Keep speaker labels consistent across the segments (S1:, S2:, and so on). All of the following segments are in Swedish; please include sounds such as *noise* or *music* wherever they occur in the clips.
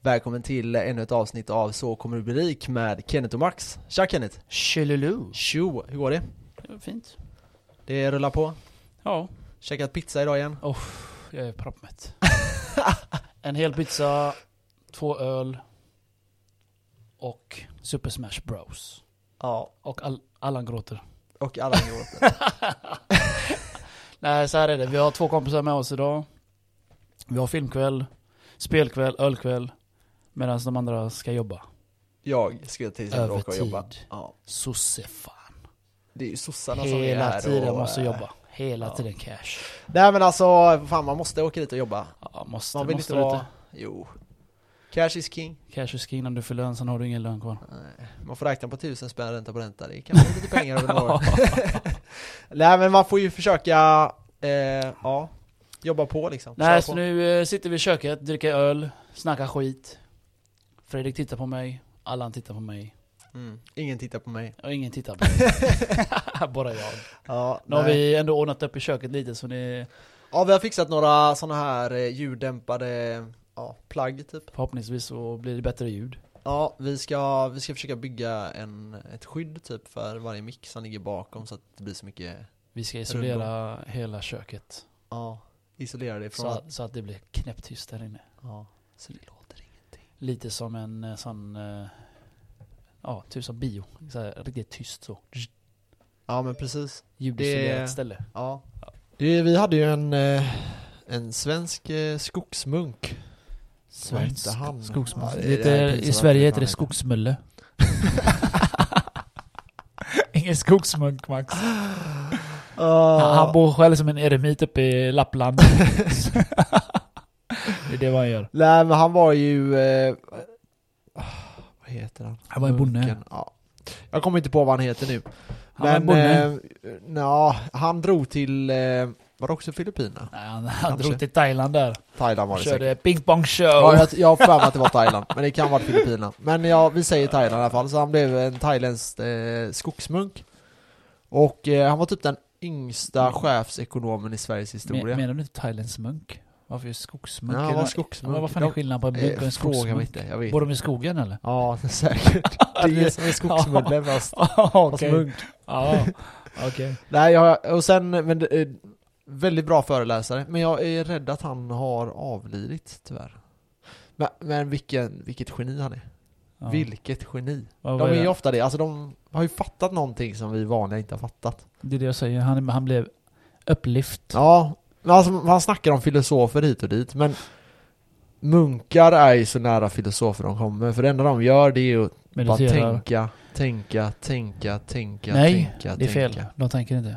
S1: Välkommen till ännu ett avsnitt av Så kommer du bli rik med Kenneth och Max. Tja Kenneth!
S2: Tjolilu.
S1: Tjo! Hur går det?
S2: Det var Fint.
S1: Det rullar på.
S2: Ja.
S1: Käkat pizza idag igen.
S2: Oh, jag är
S1: *laughs*
S2: proppmätt. en hel pizza, två öl och Super Smash Bros.
S1: Ja.
S2: Och all,
S1: *laughs*
S2: Allan gråter.
S1: Och alla *laughs* gråter.
S2: Nej, så här är det. Vi har två kompisar med oss idag. Vi har filmkväll, spelkväll, ölkväll. Medan de andra ska jobba.
S1: Jag skulle till exempel åka och
S2: Övertid.
S1: jobba. Ja.
S2: Sossefan.
S1: Det är ju sossarna som alltså, är här
S2: Hela tiden
S1: och,
S2: måste
S1: eh,
S2: jobba. Hela
S1: ja.
S2: tiden cash.
S1: Nej men alltså, fan man måste åka dit och jobba.
S2: Ja, måste,
S1: Man vill
S2: måste
S1: inte
S2: lite.
S1: vara... Jo. Cash is king.
S2: Cash is king innan du får lön, sen har du ingen lön kvar.
S1: Nej, Man får räkna på tusen spänn ränta på ränta, det kan bli lite pengar över några *laughs* år. Nej men man får ju försöka, eh, ja, jobba på liksom. Köra
S2: Nej, så
S1: på.
S2: nu eh, sitter vi i köket, dricker öl, snackar skit. Fredrik tittar på mig, Allan tittar på mig
S1: Mm. Ingen tittar på mig.
S2: och ingen tittar på mig.
S1: *laughs*
S2: Bara jag.
S1: Ja,
S2: Nu har
S1: nej.
S2: vi ändå ordnat upp i köket lite så ni
S1: ja, vi har fixat några sådana här eh, ljuddämpade ja, plagg typ.
S2: förhoppningsvis så blir det bättre ljud.
S1: Ja, vi ska, vi ska försöka bygga en, ett skydd typ för varje mick som ligger bakom så att det blir så mycket,
S2: Vi ska isolera hela köket
S1: ja, isolera det från
S2: så
S1: att,
S2: att, så att det blir knäpptyst där inne.
S1: ja, så det låter ingenting.
S2: Lite som en eh, sån, eh, ja, typ som bio. Så här, riktigt tyst så.
S1: Ja men precis.
S2: Ljudisolerat
S1: Det-
S2: ställe.
S1: Ja. Det, vi hade ju en, eh, en svensk eh, skogsmunk. Vad hette han?
S2: skogsmulle.
S1: Ja, det-
S2: Det
S1: det är
S2: heter- I
S1: pinsamt
S2: Sverige
S1: att man
S2: heter det
S1: heter.
S2: skogsmulle. *laughs* Ingen skogsmunk Max. Han, han bor själv som en eremit uppe i *laughs* Lappland. det är det vad han gör.
S1: Nej men han var ju... Eh, ah, vad heter han?
S2: Han var en bonde.
S1: Munken, Ja. Jag kommer inte på vad han heter nu.
S2: Han var en
S1: men
S2: bonde.
S1: eh, nja, han drog till... Eh, var det också Filippinerna?
S2: Nej, han han
S1: kanske.
S2: drog till Thailand där.
S1: Thailand var det säkert.
S2: Körde ping pong show.
S1: Ja, jag, jag har för mig att det var Thailand, men det kan vara Filippinerna. Men ja, vi säger Thailand i alla fall. Så han blev en thailändsk eh, skogsmunk. Och eh, han var typ den yngsta chefsekonomen i Sveriges
S2: Mm. Men,
S1: historia.
S2: menar du inte Thailands munk? Varför just skogsmunk?
S1: ja,
S2: Är
S1: han
S2: det-
S1: var
S2: men
S1: skogsmunk.
S2: vad fan är
S1: De-
S2: skillnaden på en
S1: eh,
S2: munk och en
S1: fråga mig
S2: skogsmunk?
S1: inte, jag vet.
S2: Bor de i skogen eller?
S1: Ja, *laughs* säkert. Det är som en skogsmulle *laughs* fast, fast
S2: *laughs* Okej.
S1: munk.
S2: Ja, okej.
S1: Nej, jag, och sen, men det är väldigt bra föreläsare. Men jag är rädd att han har avlidit tyvärr. Men, men vilken, vilket geni han är.
S2: Ja.
S1: Vilket geni.
S2: Vad var
S1: De
S2: det?
S1: är ju ofta det, alltså de har ju fattat någonting som vi vanliga inte har fattat.
S2: Det är det jag säger, han, han blev upplyft.
S1: Ja, men alltså man snackar om filosofer hit och dit, men munkar är ju så nära filosofer de kommer, för det enda de gör det är ju att bara tänka, tänka, tänka, tänka,
S2: Nej,
S1: tänka,
S2: Det är fel,
S1: tänka.
S2: de tänker inte.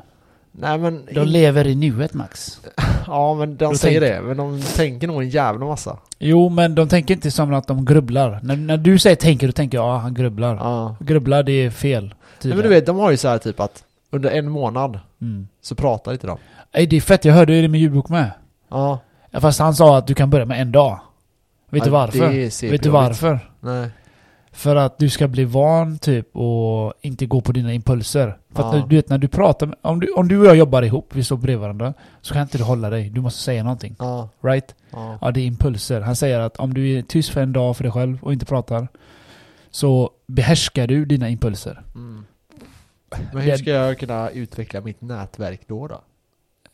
S1: Nej men,
S2: De lever i nuet Max.
S1: ja men de
S2: Då
S1: säger det, men de tänker nog en jävla massa.
S2: Jo, men de tänker inte som att de grubblar. När, när du säger tänker, då tänker jag ja, han grubblar.
S1: Ja.
S2: Grubblar, det är fel.
S1: Nej, men du vet, de har ju så här typ att under en månad
S2: Mm.
S1: så pratar inte de.
S2: Ey, det är fett, jag hörde ju det med ljudbok med.
S1: Ja.
S2: Ja, Fast han sa att du kan börja med en dag. Vet
S1: Ja,
S2: du varför?
S1: det ser
S2: Vet du
S1: jobbigt.
S2: varför?
S1: Nej.
S2: För att du ska bli van typ och inte gå på dina impulser. För att
S1: Ja.
S2: när, du vet när du pratar med, om du, om du och jag jobbar ihop, vi står bredvid varandra. Så kan inte du hålla dig, du måste säga någonting.
S1: Ja.
S2: Right?
S1: Ja.
S2: Ja, det är impulser. Han säger att om du är tyst för en dag för dig själv och inte pratar så behärskar du dina impulser.
S1: Mm. Men hur
S2: Det-
S1: ska jag kunna utveckla mitt nätverk då? då?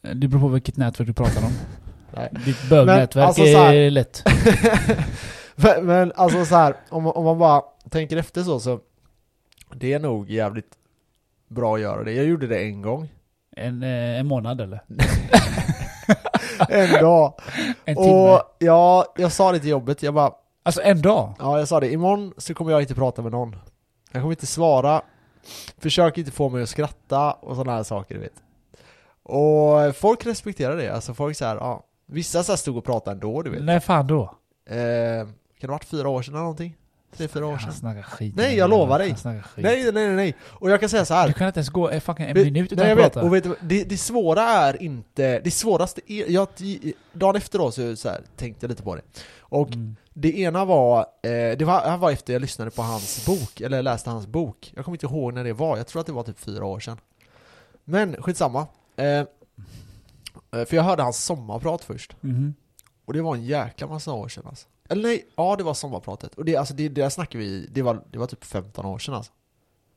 S1: *laughs*
S2: Det beror på vilket nätverk du pratar om.
S1: Nej.
S2: Ditt bögnätverk
S1: Men, alltså, så här-
S2: är lätt.
S1: Men, men alltså så här, om, om man bara tänker efter så, så det är nog jävligt bra att göra det. Jag gjorde det en
S2: *laughs*
S1: gång,
S2: En, eh, en månad eller?
S1: en dag.
S2: En timme?
S1: och ja, jag sa det till jobbet, jag bara,
S2: Alltså en dag?
S1: ja jag sa det, imorgon så kommer jag inte prata med någon. Jag kommer inte svara, försök inte få mig att skratta och sådana här saker du vet. Och folk respekterar det, alltså folk så här, ja. Vissa så här stod och pratade ändå du vet.
S2: När fan då?
S1: Eh, kan det ha varit fyra år sedan eller någonting? Tre, fyra år sedan?
S2: Han snackar skit.
S1: Nej, jag lovar dig.
S2: Han snackar skit.
S1: Nej, nej, nej, nej. Och jag kan säga så
S2: Du
S1: här.
S2: kan inte ens gå eh, fucking en
S1: Vi-
S2: minut utan
S1: nej, jag
S2: att
S1: vet.
S2: prata.
S1: Och vet du, vad? det, det svåra är inte, det svåraste är, jag, dagen efter då så, så här, tänkte jag lite på det. Och
S2: Mm.
S1: det ena var, eh, det var, det här var efter jag lyssnade på hans bok, eller läste hans bok. Jag kommer inte ihåg när det var, jag tror att det var typ fyra år sedan. Men skitsamma. Eh, eh, för jag hörde hans sommarprat först.
S2: Mhm.
S1: Och det var en jäkla massa år sedan alltså. Eller nej, ja det var sommarpratet. Och det, alltså, det, det där snackar vi, det var, det var typ 15 år sedan alltså.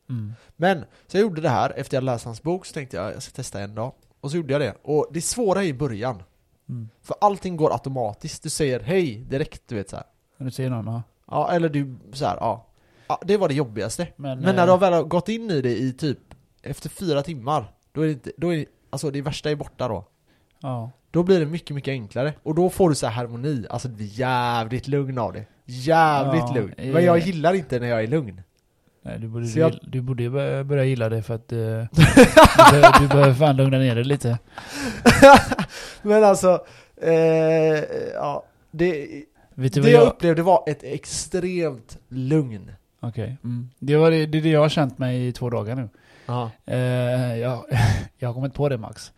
S2: Mm.
S1: Men, så jag gjorde det här, efter jag läst hans bok så tänkte jag jag ska testa en dag. Och så gjorde jag det. Och det svåra är i början.
S2: Mm.
S1: För allting går automatiskt. Du säger hej direkt, du vet så här.
S2: Men Du ser någon, ja.
S1: Ja, eller du så här, ja. ja. Det var det jobbigaste.
S2: Men,
S1: Men när
S2: eh,
S1: du har väl har gått in i det i typ efter fyra timmar, då är det inte, då är det, alltså det värsta är borta då.
S2: Ja.
S1: Då blir det mycket, mycket enklare. Och då får du så här harmoni, alltså det blir jävligt lugn av det. Jävligt
S2: Ja,
S1: lugn.
S2: eh.
S1: Men jag gillar inte när jag är lugn. *laughs*
S2: Nej, du borde,
S1: Så jag-
S2: du borde ju börja börja gilla det för att *laughs* eh, du, behöver, du behöver fan lugna ner dig lite.
S1: Men alltså, eh, ja. Det,
S2: Vet
S1: det
S2: du vad
S1: jag
S2: jag...
S1: upplevde var ett extremt lugn.
S2: Okej. Mm. Det, var det, det är det jag har känt mig i två dagar nu.
S1: Ja.
S2: Eh, jag, *laughs* jag har kommit på det Max.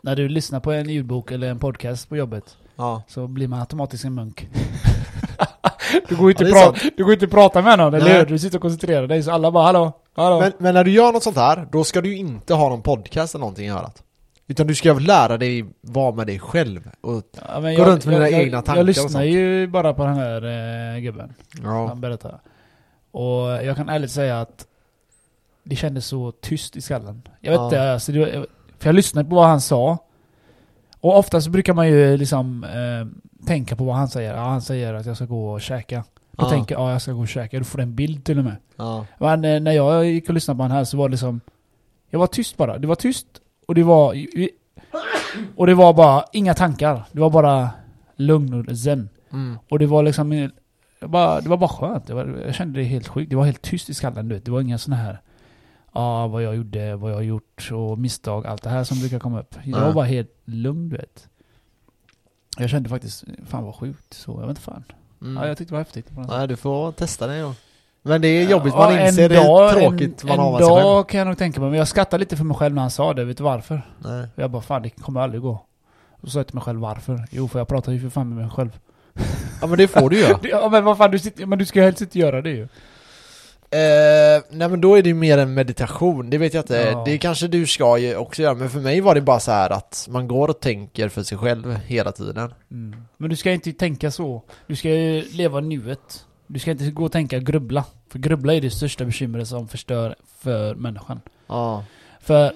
S2: När du lyssnar på en ljudbok eller en podcast på jobbet
S1: ja.
S2: så blir man automatiskt en *laughs* munk. du, går ju inte
S1: Ja, det är
S2: pra- du går inte prata med någon, eller
S1: Nej.
S2: hur? Du sitter och koncentrerar dig så alla bara hallå, hallå.
S1: Men, men när du gör något sånt här, då ska du ju inte ha någon podcast eller någonting i örat. Utan du ska väl lära dig vara med dig själv. Och,
S2: ja, men
S1: gå runt med dina egna
S2: jag,
S1: tankar
S2: Jag
S1: och
S2: lyssnar
S1: sånt.
S2: ju bara på den här eh, gubben.
S1: ja.
S2: Han berättar. Och jag kan ärligt säga att det kändes så tyst i skallen. Jag vet
S1: Ja.
S2: inte, alltså det, var- för jag lyssnade på vad han sa. Och oftast brukar man ju liksom eh, tänka på vad han säger. Ja, han säger att jag ska gå och käka. Då
S1: Ja.
S2: tänker jag, ja jag ska gå och käka. Du får en bild till och med.
S1: Ja.
S2: Men eh, när jag gick och lyssnade på han här så var det liksom... Jag var tyst bara. Det var tyst och det var... Och det var bara inga tankar. Det var bara lugn och zen.
S1: Mm.
S2: Och det var liksom... eh, jag Bara, det var bara skönt. Det var, jag kände det helt sjukt. Det var helt tyst i skallen du vet. Det var inga sådana här... Ja, ah, vad jag gjorde, vad jag har gjort och misstag. Allt det här som brukar komma upp. Jag var
S1: Nej.
S2: bara helt lugn du vet. Jag kände faktiskt, fan vad sjukt. Så jag vet inte fan.
S1: Mm.
S2: Ja, jag tyckte det var häftigt. på något sätt.
S1: Nej, du får testa det då. Men det är jobbigt,
S2: Ja,
S1: man
S2: en
S1: inser det
S2: dag-
S1: är tråkigt
S2: en,
S1: man har
S2: En
S1: med sig själv.
S2: dag kan jag nog tänka mig, men jag skrattade lite för mig själv när han sa det, vet du varför?
S1: Nej.
S2: Jag bara fan det kommer aldrig gå. Och så sa jag till mig själv varför? Jo för jag pratar ju för fan med mig själv.
S1: Ja men det får du ju.
S2: *laughs* Ja men vad fan du, sitter, men du ska ju helst inte göra det ju.
S1: *laughs* eh, nej men då är det ju mer en meditation, det vet jag inte.
S2: Ja.
S1: Det kanske du ska ju också göra, men för mig var det bara så här att man går och tänker för sig själv hela tiden.
S2: Men du ska inte tänka så. Du ska ju leva nuet. Du ska inte gå och tänka grubbla. För grubbla är det största bekymret som förstör för människan.
S1: Ja.
S2: För,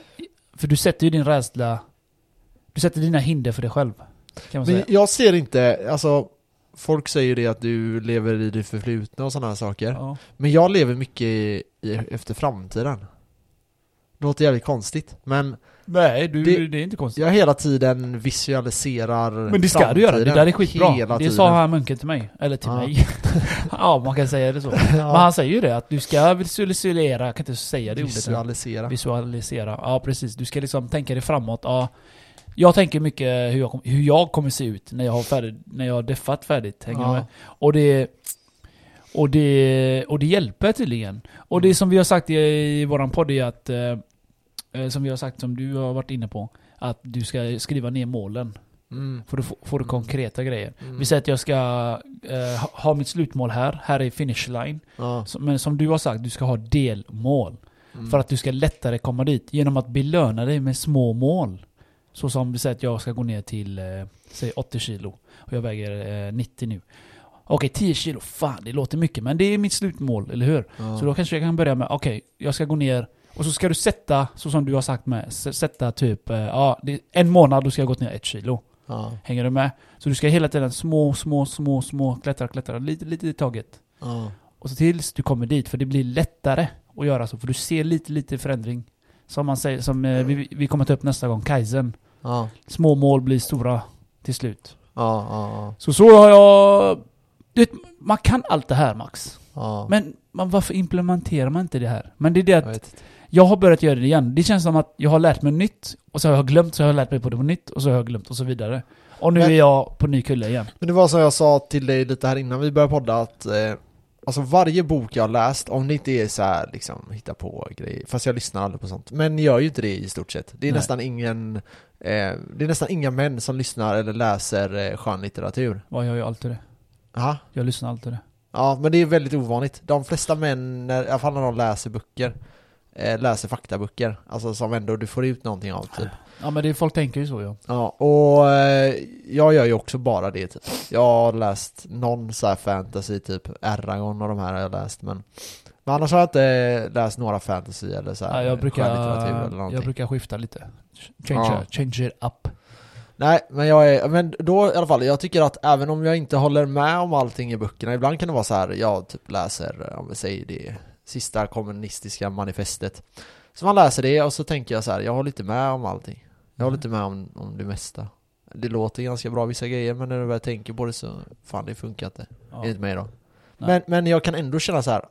S2: för du sätter ju din rädsla, du sätter dina hinder för dig själv. Kan man
S1: Men
S2: säga.
S1: jag ser inte, alltså Folk säger det att du lever i det förflutna och sådana här saker.
S2: Ja.
S1: Men jag lever mycket i, i, efter framtiden. Det låter jävligt konstigt, men
S2: Nej, du, det,
S1: Det-
S2: är inte konstigt.
S1: jag hela tiden visualiserar
S2: Men det ska du göra, det
S1: framtiden
S2: där är skitbra.
S1: Hela
S2: Det
S1: tiden. *laughs*
S2: sa han munken till mig. Eller till
S1: Ja.
S2: mig. *laughs* ja, man kan säga det så. Men han säger ju det, att du ska visualisera, jag kan inte säga det ordet. än.
S1: Visualisera.
S2: Visualisera, ja precis. Du ska liksom tänka dig framåt. Ja, jag tänker mycket hur jag, kom, hur jag kommer se ut när jag har, färdig, när jag har deffat färdigt. Hänger du med?
S1: Ja.
S2: Och det... Och det, och det hjälper tydligen. Och det
S1: Mm.
S2: som vi har sagt i, i våran podd är att... Eh, eh, som vi har sagt, som du har varit inne på. Att du ska skriva ner målen.
S1: Mm.
S2: Får du, får du konkreta grejer.
S1: Mm.
S2: Vi säger att jag ska eh, ha- ha mitt slutmål här, här är finish line.
S1: Ja.
S2: Så- Men som du har sagt, du ska ha delmål.
S1: Mm.
S2: För att du ska lättare komma dit genom att belöna dig med små mål. Så som vi säger att jag ska gå ner till, eh, säg 80 kilo. Och jag väger eh, 90 nu. Okej, 10 kilo, fan det låter mycket men det är mitt slutmål, eller hur?
S1: Ja.
S2: Så då kanske jag kan börja med, okej, jag ska gå ner och så ska du sätta, så som du har sagt med, s- sätta typ, eh, ja, det, en månad då ska jag ha gått ner ett kilo.
S1: Ja.
S2: Hänger du med? Så du ska hela tiden små, små, små, små klättra, klättra lite, lite i taget.
S1: Ja.
S2: Och så tills du kommer dit, för det blir lättare att göra så. För du ser lite, lite förändring. Som man säger, som eh, vi, vi kommer ta upp nästa gång, Kaizen.
S1: Ja.
S2: Små mål blir stora till slut.
S1: Ja. Ja.
S2: Så så har jag... Du vet, man kan allt det här Max.
S1: Ja.
S2: Men man, varför implementerar man inte det här? Men det är det att
S1: Jag vet inte.
S2: jag har börjat göra det igen. Det känns som att jag har lärt mig nytt, och så har jag glömt, så har jag lärt mig på det på nytt, och så har jag glömt, och så vidare. Och nu
S1: Men-
S2: är jag på ny kulle igen.
S1: Men det var som jag sa till dig lite här innan vi började podda att eh, Alltså varje bok jag har läst, om det inte är så här liksom hitta på grejer, fast jag lyssnar aldrig på sånt. Men gör ju inte det i stort sett. Det är
S2: Nej.
S1: nästan ingen, eh, det är nästan inga män som lyssnar eller läser eh, skönlitteratur.
S2: Ja, jag gör alltid det.
S1: Aha.
S2: Jag lyssnar alltid det.
S1: Ja, men det är väldigt ovanligt. De flesta män, när, i alla fall när de läser böcker, eh, läser faktaböcker. Alltså som ändå du får ut någonting av typ.
S2: Ja men det, folk tänker ju så ja.
S1: Ja, och eh, jag gör ju också bara det typ. Jag har läst någon så här fantasy, typ Eragon och de här har jag läst men Men annars har jag inte läst några fantasy eller så här
S2: ja jag, brukar,
S1: skönlitteratur eller någonting.
S2: jag brukar skifta lite. Change,
S1: Ja.
S2: change it up.
S1: Nej, men jag är, men då i alla fall, jag tycker att även om jag inte håller med om allting i böckerna, ibland kan det vara så här, jag typ läser, om vi säger det sista kommunistiska manifestet. Så man läser det och så tänker jag så här, jag håller inte med om allting. Jag håller
S2: Mm.
S1: inte med om, om det mesta. Det låter ganska bra vissa grejer, men när du väl tänker på det så, fan det funkar inte.
S2: Ja.
S1: Enligt mig då.
S2: Nej.
S1: Men, men jag kan ändå känna så här,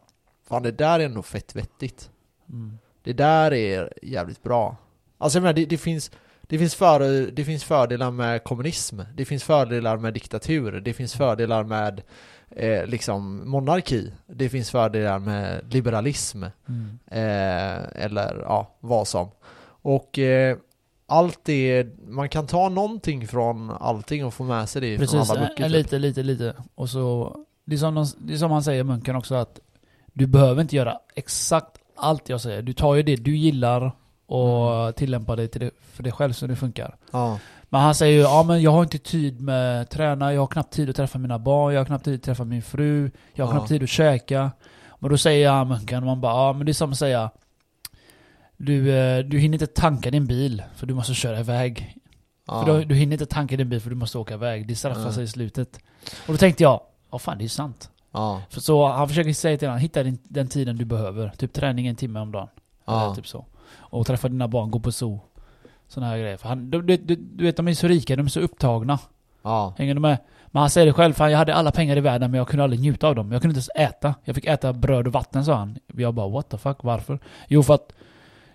S1: fan det där är ändå fett vettigt.
S2: Mm.
S1: Det där är jävligt bra. Alltså jag menar, det, det finns det finns, för, det finns fördelar med kommunism, det finns fördelar med diktatur, det finns fördelar med eh, liksom monarki, det finns fördelar med liberalism
S2: Mm.
S1: eh, eller ja, vad som. Och eh, allt det, man kan ta någonting från allting och få med sig det
S2: Precis,
S1: från alla böcker.
S2: eh,
S1: typ.
S2: lite, lite, lite. Och så, det är, som de, det är som han säger munken också att du behöver inte göra exakt allt jag säger. Du tar ju det du gillar och
S1: Mm.
S2: tillämpar det till det, för dig själv så det funkar.
S1: Ja,
S2: Men han säger ju ja men jag har inte tid med att träna, jag har knappt tid att träffa mina barn, jag har knappt tid att träffa min fru, jag har
S1: Ja.
S2: knappt tid att käka. Men då säger han munken och man bara ja men det är som att säga du, eh, du hinner inte tanka din bil för du måste köra iväg
S1: ja.
S2: för du, du hinner inte tanka din bil för du måste åka iväg. Det straffar
S1: Mm.
S2: sig i slutet. Och då tänkte jag, ja fan det är ju sant.
S1: ja,
S2: För så han försöker säga till honom, hitta din, den tiden du behöver. Typ träning en timme om dagen.
S1: ja.
S2: Eller typ så. Och träffa dina barn, gå på zoo. Sådana här grejer. För han, du, du, du, du vet de är så rika, de är så upptagna.
S1: ja.
S2: Hänger du med? Men han säger det själv, fan jag hade alla pengar i världen men jag kunde aldrig njuta av dem. Jag kunde inte ens äta. Jag fick äta bröd och vatten sa han. Jag bara what the fuck, varför? Jo för att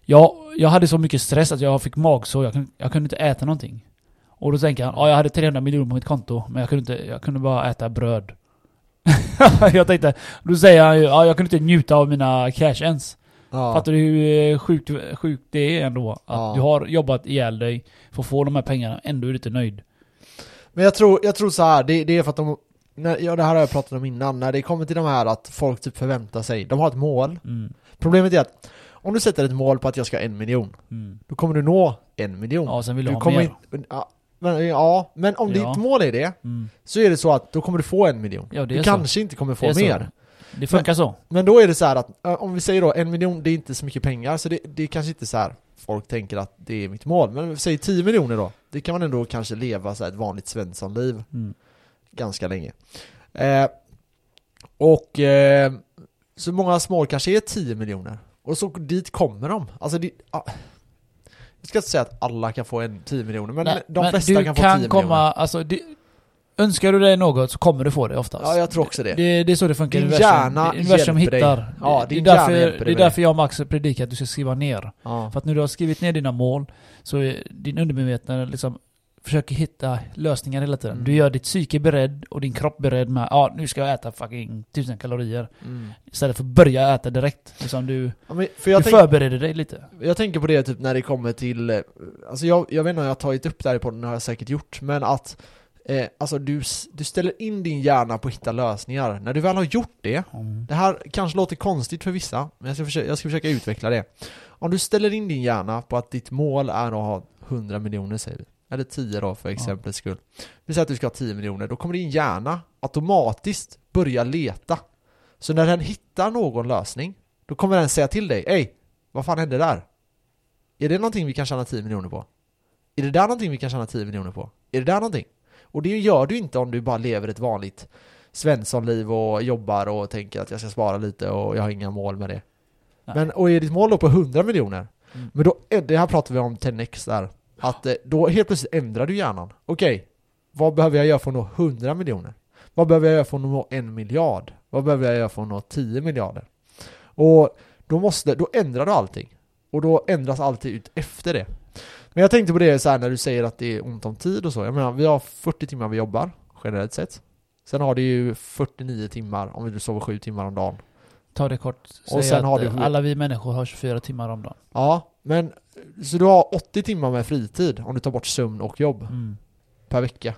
S2: jag, jag hade så mycket stress att jag fick magsår, jag kunde, jag kunde inte äta någonting. Och då tänker han, ja jag hade 300 miljoner på mitt konto men jag kunde, inte, jag kunde bara äta bröd. *laughs* jag tänkte, då säger han ju, ja jag kunde inte njuta av mina cash ens.
S1: ja.
S2: Fattar du hur eh, sjukt, sjukt det är ändå? Att
S1: Ja.
S2: du har jobbat ihjäl dig för att få de här pengarna, ändå är du inte nöjd.
S1: Men jag tror, jag tror så här, det, det är för att de, när, ja, det här har jag pratat om innan, när det kommer till de här att folk typ förväntar sig, de har ett mål.
S2: Mm,
S1: Problemet är att om du sätter ett mål på att jag ska ha en miljon,
S2: mm.
S1: då kommer du nå en miljon.
S2: Ja, sen vill du,
S1: du
S2: ha mer.
S1: kommer in, ja, men, ja, men om
S2: Ja.
S1: ditt mål är det,
S2: Mm.
S1: så är det så att då kommer du få en miljon.
S2: Ja, det
S1: Du
S2: är så.
S1: kanske inte kommer
S2: Det
S1: få
S2: är så.
S1: mer.
S2: Det funkar så.
S1: Men då är det så här att, eh, om vi säger då en miljon, det är inte så mycket pengar, så det, det är kanske inte så här folk tänker att det är mitt mål. Men om vi säger 10 miljoner då, det kan man ändå kanske leva så här ett vanligt svenssonliv.
S2: Mm.
S1: ganska länge. Eh, och eh, så många små kanske är 10 miljoner. Och så dit kommer de. Alltså det, ah, jag ska inte säga att alla kan få en 10 miljoner, men
S2: Nej,
S1: de flesta
S2: du
S1: kan få 10
S2: kan komma,
S1: miljoner.
S2: alltså, det, önskar du dig något så kommer du få det oftast.
S1: Ja, jag tror också det.
S2: det, det är så det funkar i
S1: Din
S2: universum.
S1: hjärna
S2: Det- universum
S1: hjälper dig.
S2: hittar.
S1: Ja,
S2: det,
S1: din
S2: det är därför,
S1: hjärna hjälper
S2: det är
S1: dig.
S2: därför jag och Max predikar att du ska skriva ner.
S1: Ja.
S2: För att när du har skrivit ner dina mål så är din undermedvetna liksom försöker hitta lösningar hela tiden.
S1: Mm.
S2: Du gör ditt psyke beredd och din kropp beredd med ja, ah, nu ska jag äta fucking tusen kalorier.
S1: Mm.
S2: Istället för att börja äta direkt. Liksom du,
S1: Ja, men, för jag,
S2: du
S1: tänk,
S2: förbereder dig lite.
S1: jag tänker på det typ när det kommer till, eh, alltså jag, jag vet inte om jag har tagit upp det här i podden, det har jag säkert gjort, men att eh, alltså du, s- du ställer in din hjärna på att hitta lösningar. När du väl har gjort det,
S2: Mm.
S1: Det här kanske låter konstigt för vissa, men jag ska försöka, jag ska försöka utveckla det. Om du ställer in din hjärna på att ditt mål är att ha 100 miljoner säger vi, eller 10 då för exemplets skull. Vi säger att du ska ha 10 miljoner, då kommer din hjärna automatiskt börja leta. Så när den hittar någon lösning, då kommer den säga till dig, Ey, vad fan hände där? Är det någonting vi kan tjäna 10 miljoner på? Är det där någonting vi kan tjäna 10 miljoner på? Är det där någonting? Och det gör du inte om du bara lever ett vanligt Svenssonliv och jobbar och tänker att jag ska spara lite och jag har inga mål med det.
S2: Nej.
S1: Men, och är ditt mål då på 100 miljoner,
S2: Mm.
S1: men då, det här pratar vi om 10x där, att eh, då helt plötsligt ändrar du hjärnan. Okej, vad behöver jag göra för att nå 100 miljoner? Vad behöver jag göra för att nå en miljard? Vad behöver jag göra för att nå 10 miljarder? Och då, måste, då ändrar du allting. Och då ändras alltid ut efter det. Men jag tänkte på det så här när du säger att det är ont om tid och så. Jag menar, vi har 40 timmar vi jobbar, generellt sett. Sen har du ju 49 timmar om du sover 7 timmar om dagen.
S2: Ta det kort.
S1: Och sen
S2: Och sen att
S1: har du-
S2: eh, alla vi människor har 24 timmar om dagen.
S1: Ja, men så du har 80 timmar med fritid om du tar bort sömn och jobb
S2: Mm.
S1: per vecka.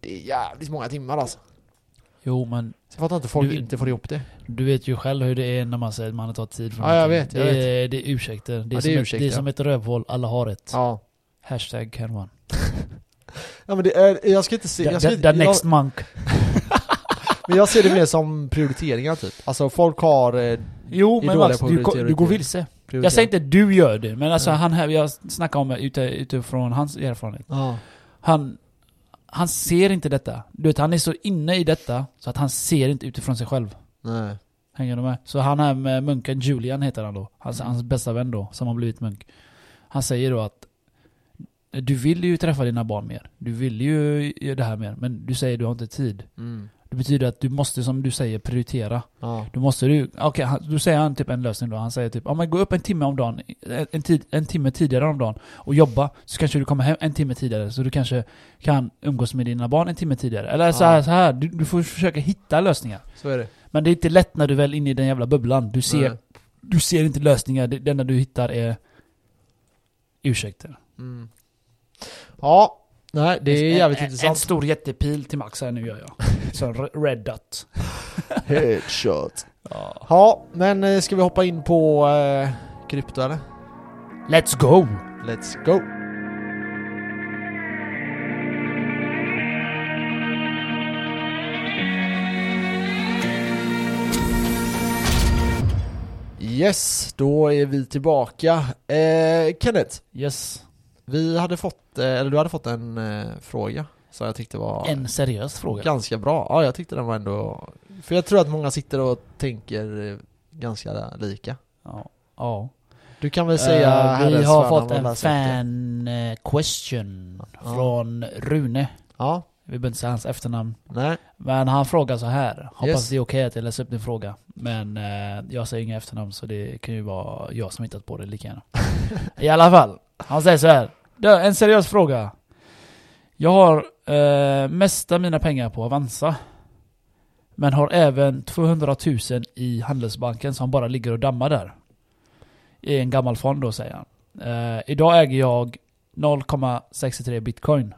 S1: Det är jävligt många timmar alltså.
S2: Jo, men
S1: Så jag fattar inte folk
S2: Du-
S1: inte får ihop det.
S2: du vet ju själv hur det är när man säger att man har tagit tid från
S1: Ja, jag
S2: någonting.
S1: vet, jag
S2: det, är, det är ursäkter. Det är,
S1: Ja, det är
S2: som, ett,
S1: ursäkter,
S2: det är
S1: ja.
S2: som ett rövhål, alla har ett.
S1: Ja.
S2: Hashtag can one.
S1: Ja men det är, jag ska inte se, jag
S2: The,
S1: ska
S2: the,
S1: inte,
S2: the
S1: jag,
S2: next monk.
S1: men jag ser det mer som prioriteringar typ. Alltså folk har eh,
S2: Jo,
S1: är
S2: men
S1: dåliga
S2: Max,
S1: på
S2: du,
S1: prioritering.
S2: du går vilse.
S1: prioriteringar.
S2: Jag säger inte du gör det, men alltså
S1: Mm.
S2: han här, jag snackar om ute, utifrån hans erfarenhet.
S1: Ja.
S2: Han, han ser inte detta. Du vet, han är så inne i detta så att han ser inte utifrån sig själv.
S1: Nej.
S2: Hänger du med? Så han här med munken, Julian heter han då. Hans,
S1: Mm.
S2: hans bästa vän då, som har blivit munk. Han säger då att du vill ju träffa dina barn mer. Du vill ju göra det här mer. Men du säger du har inte tid.
S1: Mm.
S2: Det betyder att du måste, som du säger, prioritera.
S1: Ja.
S2: Då måste du, okej, okay, då säger han typ en lösning då. Han säger typ, ja men gå upp en timme om dagen, en, en tid, en timme tidigare om dagen och jobba. Så kanske du kommer hem en timme tidigare. Så du kanske kan umgås med dina barn en timme tidigare. Eller så
S1: Ja.
S2: här, så här. Du, du får försöka hitta lösningar.
S1: Så är det.
S2: Men det är inte lätt när du väl är inne i den jävla bubblan. Du ser,
S1: Nej.
S2: du ser inte lösningar. Det, det enda du hittar är ursäkter.
S1: Mm. Ja. Nej, det är jävligt
S2: en, En
S1: intressant.
S2: stor jättepil till Max här nu
S1: *laughs*
S2: gör jag. Så red dot.
S1: Headshot.
S2: Ja.
S1: *laughs* Ja, men eh, ska vi hoppa in på eh, krypto eller?
S2: Let's go!
S1: Let's go! Yes, då är vi tillbaka. Eh, Kenneth,
S2: Yes.
S1: vi hade fått, eh, eller du hade fått en eh, fråga som jag tyckte var
S2: En seriös fråga.
S1: ganska bra. Ja, jag tyckte den var ändå... För jag tror att många sitter och tänker eh, ganska lika.
S2: Ja. ja.
S1: Du kan väl säga
S2: Eh, vi
S1: herrens
S2: har
S1: förnamn
S2: fått
S1: och
S2: en
S1: läsa upp det.
S2: fan eh, question
S1: Ja.
S2: från Rune.
S1: Ja,
S2: Vi behöver inte säga hans efternamn.
S1: nej.
S2: Men han frågar så här. Hoppas
S1: Yes.
S2: det är okej att jag läser upp din fråga. Men eh, jag säger inga efternamn så det kan ju vara jag som hittat på det lika gärna. I alla fall. Han säger så här. Du, en seriös fråga. Jag har eh, mesta mina pengar på Avanza. Men har även 200 000 i Handelsbanken som bara ligger och dammar där. I en gammal fond då säger han. Eh, idag äger jag 0,63 bitcoin.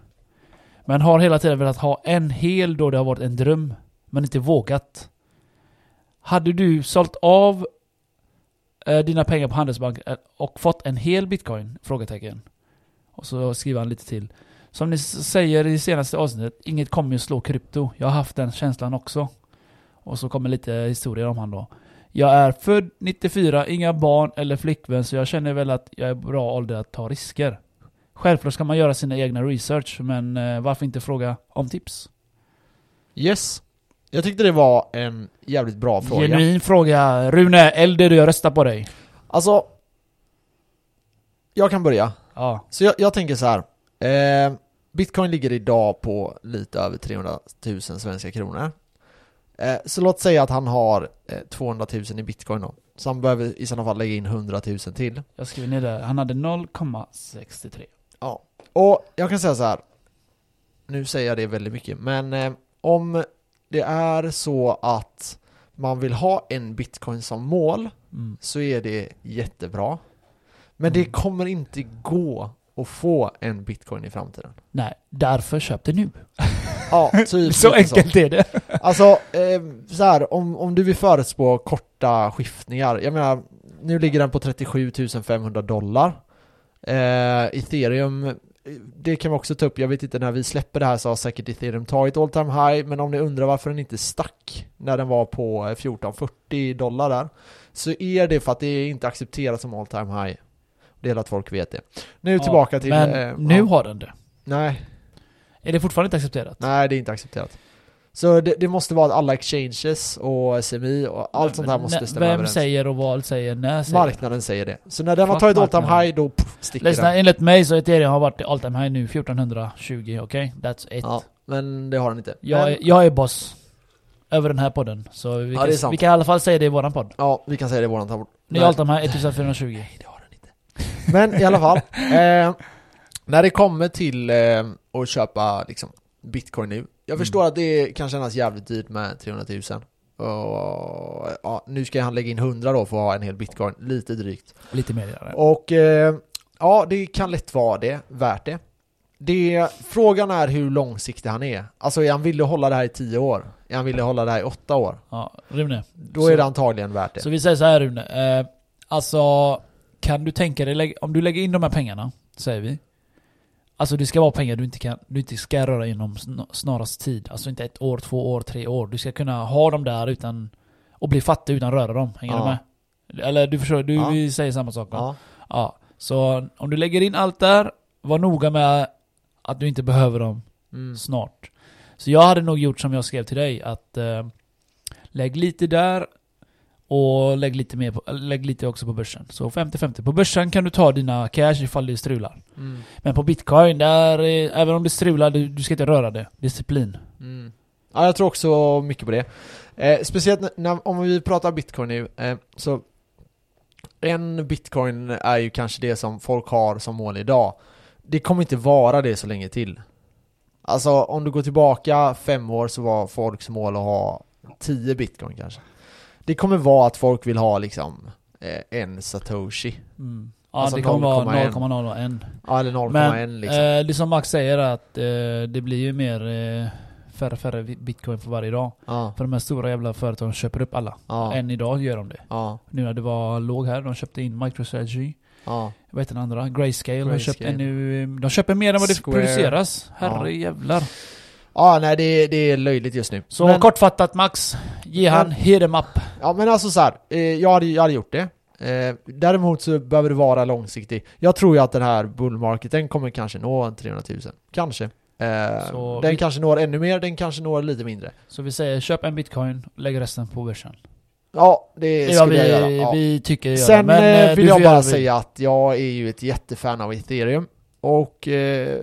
S2: Men har hela tiden velat ha en hel då det har varit en dröm. Men inte vågat. Hade du sålt av eh, dina pengar på Handelsbanken eh, och fått en hel bitcoin? Frågetecken. Och så skriver han lite till. Som ni s- säger i senaste avsnittet, inget kommer ju slå krypto. Jag har haft den känslan också. Och så kommer lite historier om han då. Jag är född 94, inga barn eller flickvän så jag känner väl att jag är bra ålder att ta risker. Självklart ska man göra sina egna research, men eh, varför inte fråga om tips?
S1: Yes. Jag tyckte det var en jävligt bra fråga.
S2: Genuin fråga. Rune, elder du, jag röstar på dig.
S1: Alltså, jag kan börja.
S2: Ja.
S1: Så jag, jag tänker så här. Eh, Bitcoin ligger idag på lite över 300 000 svenska kronor. Eh, så låt säga att han har eh, 200 000 i bitcoin då. Så han behöver i sådana fall lägga in 100 000 till.
S2: Jag skriver ner det. Han hade 0,63.
S1: Ja. Och jag kan säga så här. Nu säger jag det väldigt mycket, men eh, om det är så att man vill ha en bitcoin som mål
S2: Mm.
S1: så är det jättebra. Men det
S2: Mm.
S1: kommer inte gå att få en bitcoin i framtiden.
S2: *laughs* Nej, därför köp det nu.
S1: Ja, typ
S2: Så
S1: lite
S2: enkelt är det.
S1: Alltså, eh, så här, om, om du vill förutspå korta skiftningar. Jag menar, nu ligger den på 37 500 dollar. Eh, ethereum, eh, det kan vi också ta upp. Jag vet inte, när vi släpper det här så har säkert ethereum tagit all time high. Men om ni undrar varför den inte stack när den var på eh, 1440 dollar där. Så är det för att det är inte accepterat som all time high. Det är att folk vet det. Nu tillbaka till...
S2: Men
S1: eh,
S2: nu
S1: ja,
S2: har den det.
S1: nej,
S2: Är det fortfarande inte accepterat?
S1: Nej, det är inte accepterat. Så det, det måste vara att alla exchanges och SMI och allt sånt här måste
S2: Vem
S1: stämma överens.
S2: säger och vad säger när säger?
S1: Marknaden säger det. Så när den har
S2: Fuck
S1: tagit all time
S2: marknaden.
S1: high, då pff, sticker
S2: Lyssna,
S1: den.
S2: enligt mig så är Ethereum har varit i all time high nu 1420, okej? That's it.
S1: Ja, men det har den inte.
S2: Jag,
S1: men,
S2: är, jag är boss. Över den här podden. Så vi
S1: Ja,
S2: kan,
S1: det är sant.
S2: vi kan i alla fall säga det i våran podd.
S1: Ja, vi kan säga det i våran tabell.
S2: Nu är allt de här 1420.
S1: Nej, det har den inte. Men i alla
S2: *laughs*
S1: fall. Eh, när det kommer till eh, att köpa liksom, bitcoin nu. Jag
S2: Mm.
S1: förstår att det kan kännas jävligt dyrt med 300 000. Och, ja, nu ska han lägga in 100 då för att ha en hel bitcoin. Lite drygt.
S2: Lite mer gärna.
S1: Och eh, ja, det kan lätt vara det, värt det. det. Frågan är hur långsiktig han är. Alltså är han villig att hålla det här i 10 år? Är han villig att hålla det här i 8 år?
S2: Ja, Rune.
S1: Då
S2: Så-
S1: är det antagligen värt det.
S2: Så vi säger så här Rune. Eh, alltså, kan du tänka dig, lägga- om du lägger in de här pengarna, säger vi. Alltså det ska vara pengar du inte, kan, du inte ska röra inom sn- snarast tid. Alltså inte ett år, två år, tre år. Du ska kunna ha dem där utan... Och bli fattig utan röra dem. Hänger
S1: Ja.
S2: du med? Eller du förstår, du
S1: Ja.
S2: vi säger samma sak va?
S1: Ja.
S2: Ja, så om du lägger in allt där, var noga med att du inte behöver dem
S1: Mm.
S2: snart. Så jag hade nog gjort som jag skrev till dig, att eh, lägg lite där och lägg lite, mer på, lägg lite också på börsen. Så 50-50. På börsen kan du ta dina cash ifall det strular.
S1: Mm.
S2: Men på bitcoin, där, eh, även om det strular, du, du ska inte röra det. Disciplin.
S1: Mm. Ja, jag tror också mycket på det. Eh, speciellt när- när, om vi pratar bitcoin nu, eh, så en bitcoin är ju kanske det som folk har som mål idag. Det kommer inte vara det så länge till. Alltså om du går tillbaka fem år så var folks mål att ha 10 bitcoin kanske. Det kommer vara att folk vill ha liksom eh, en satoshi.
S2: Mm. Ja,
S1: Alltså
S2: det kommer vara
S1: 0,1.
S2: 0,01.
S1: Ja, eller 0,1 liksom.
S2: eh, det som Max säger är att eh, det blir ju mer eh, färre färre bitcoin för varje dag.
S1: ja,
S2: För de här stora jävla företagen köper upp alla.
S1: ja,
S2: Än idag gör de det.
S1: ja,
S2: Nu när det var låg här, de köpte in MicroStrategy.
S1: ja.
S2: Vad heter den andra? Grayscale. Har köpt
S1: Grayscale.
S2: ännu, de köper mer än vad det
S1: Square.
S2: produceras.
S1: Ja.
S2: Herre jävlar.
S1: Ja, nej det, det är löjligt just nu.
S2: Så
S1: Men-
S2: kortfattat Max, ge han
S1: Men-
S2: hit em up.
S1: Ja men alltså så här, eh, jag, hade, jag hade gjort det. Eh, däremot så behöver det vara långsiktig. Jag tror ju att den här bullmarketen kommer kanske nå 300 000. Kanske. Eh,
S2: Så
S1: den
S2: vi-
S1: kanske når ännu mer, den kanske når lite mindre.
S2: Så vi säger köp en bitcoin, lägg resten på börsen.
S1: Ja, det
S2: Det
S1: skulle
S2: är vad vi,
S1: jag göra. Ja.
S2: vi tycker göra.
S1: Sen
S2: Men, eh,
S1: eh,
S2: du
S1: vill
S2: får
S1: jag
S2: göra
S1: bara
S2: det.
S1: säga att jag är ju ett jättefan av ethereum. Och eh,